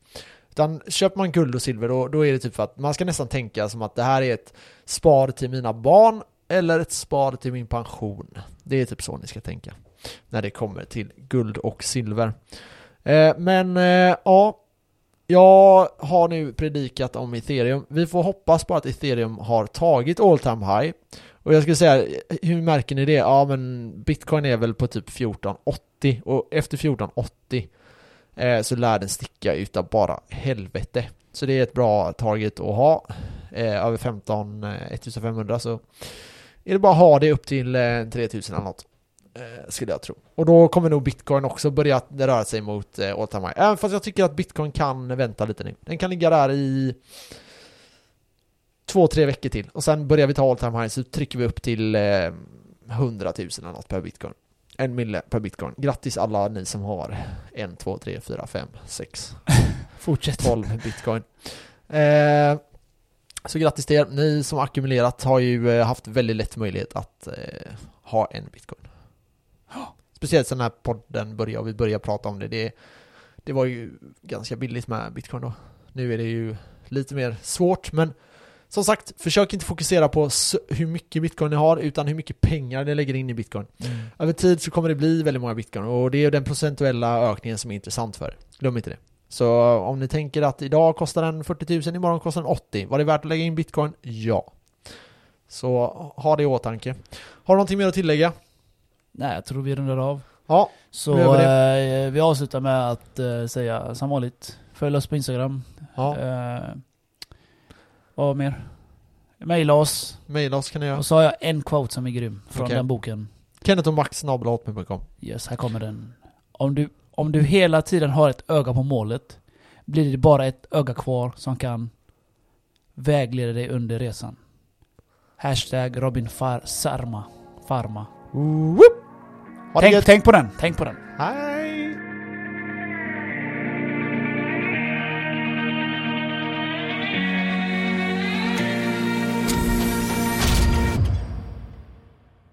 S1: Utan köper man guld och silver då, då är det typ för att man ska nästan tänka som att det här är ett spar till mina barn eller ett spar till min pension. Det är typ så ni ska tänka när det kommer till guld och silver. Eh, men eh, ja, jag har nu predikat om ethereum. Vi får hoppas på att ethereum har tagit all time high. Och jag skulle säga, hur märker ni det? Ja men bitcoin är väl på typ 1480 och efter 1480 eh, så lär den sticka utav bara helvete. Så det är ett bra target att ha. Eh, över 15, eh, 1500 så är det bara att ha det upp till eh, 3000 eller något. Eh, skulle jag tro. Och då kommer nog bitcoin också börja att röra sig mot eh, all time high. Även fast jag tycker att bitcoin kan vänta lite nu. Den kan ligga där i två, tre veckor till. Och sen börjar vi ta all time high så trycker vi upp till eh, 100 000 eller något per bitcoin. En mille per bitcoin. Grattis alla ni som har en, två, tre, fyra, fem, sex,
S2: Fortsätt.
S1: 12 bitcoin. Eh, så grattis till er. Ni som har ackumulerat har ju eh, haft väldigt lätt möjlighet att eh, ha en bitcoin. Speciellt sen när podden började och vi började prata om det. det. Det var ju ganska billigt med bitcoin då. Nu är det ju lite mer svårt men som sagt, försök inte fokusera på s- hur mycket bitcoin ni har utan hur mycket pengar ni lägger in i bitcoin.
S2: Mm.
S1: Över tid så kommer det bli väldigt många bitcoin och det är ju den procentuella ökningen som är intressant för er. Glöm inte det. Så om ni tänker att idag kostar den 40 000, imorgon kostar den 80. Var det värt att lägga in bitcoin? Ja. Så ha det i åtanke. Har du någonting mer att tillägga?
S2: Nej, jag tror vi rundar av.
S1: Ja,
S2: Så
S1: Nu gör vi
S2: eh, vi avslutar med att eh, säga som vanligt, följ oss på Instagram.
S1: ja.
S2: Eh, vad mer? Maila oss.
S1: mejla oss kan ni göra.
S2: Och så har jag en quote som är grym från
S1: Okej.
S2: den boken.
S1: Kenneth och Max snabelahotmail.com
S2: Yes, här kommer den. Om du, om du hela tiden har ett öga på målet blir det bara ett öga kvar som kan vägleda dig under resan. Hashtag Robin Far Sarma. Farma.
S1: Woop! Ha det
S2: Tänk,
S1: gött!
S2: tänk på den, tänk på den.
S1: Hej!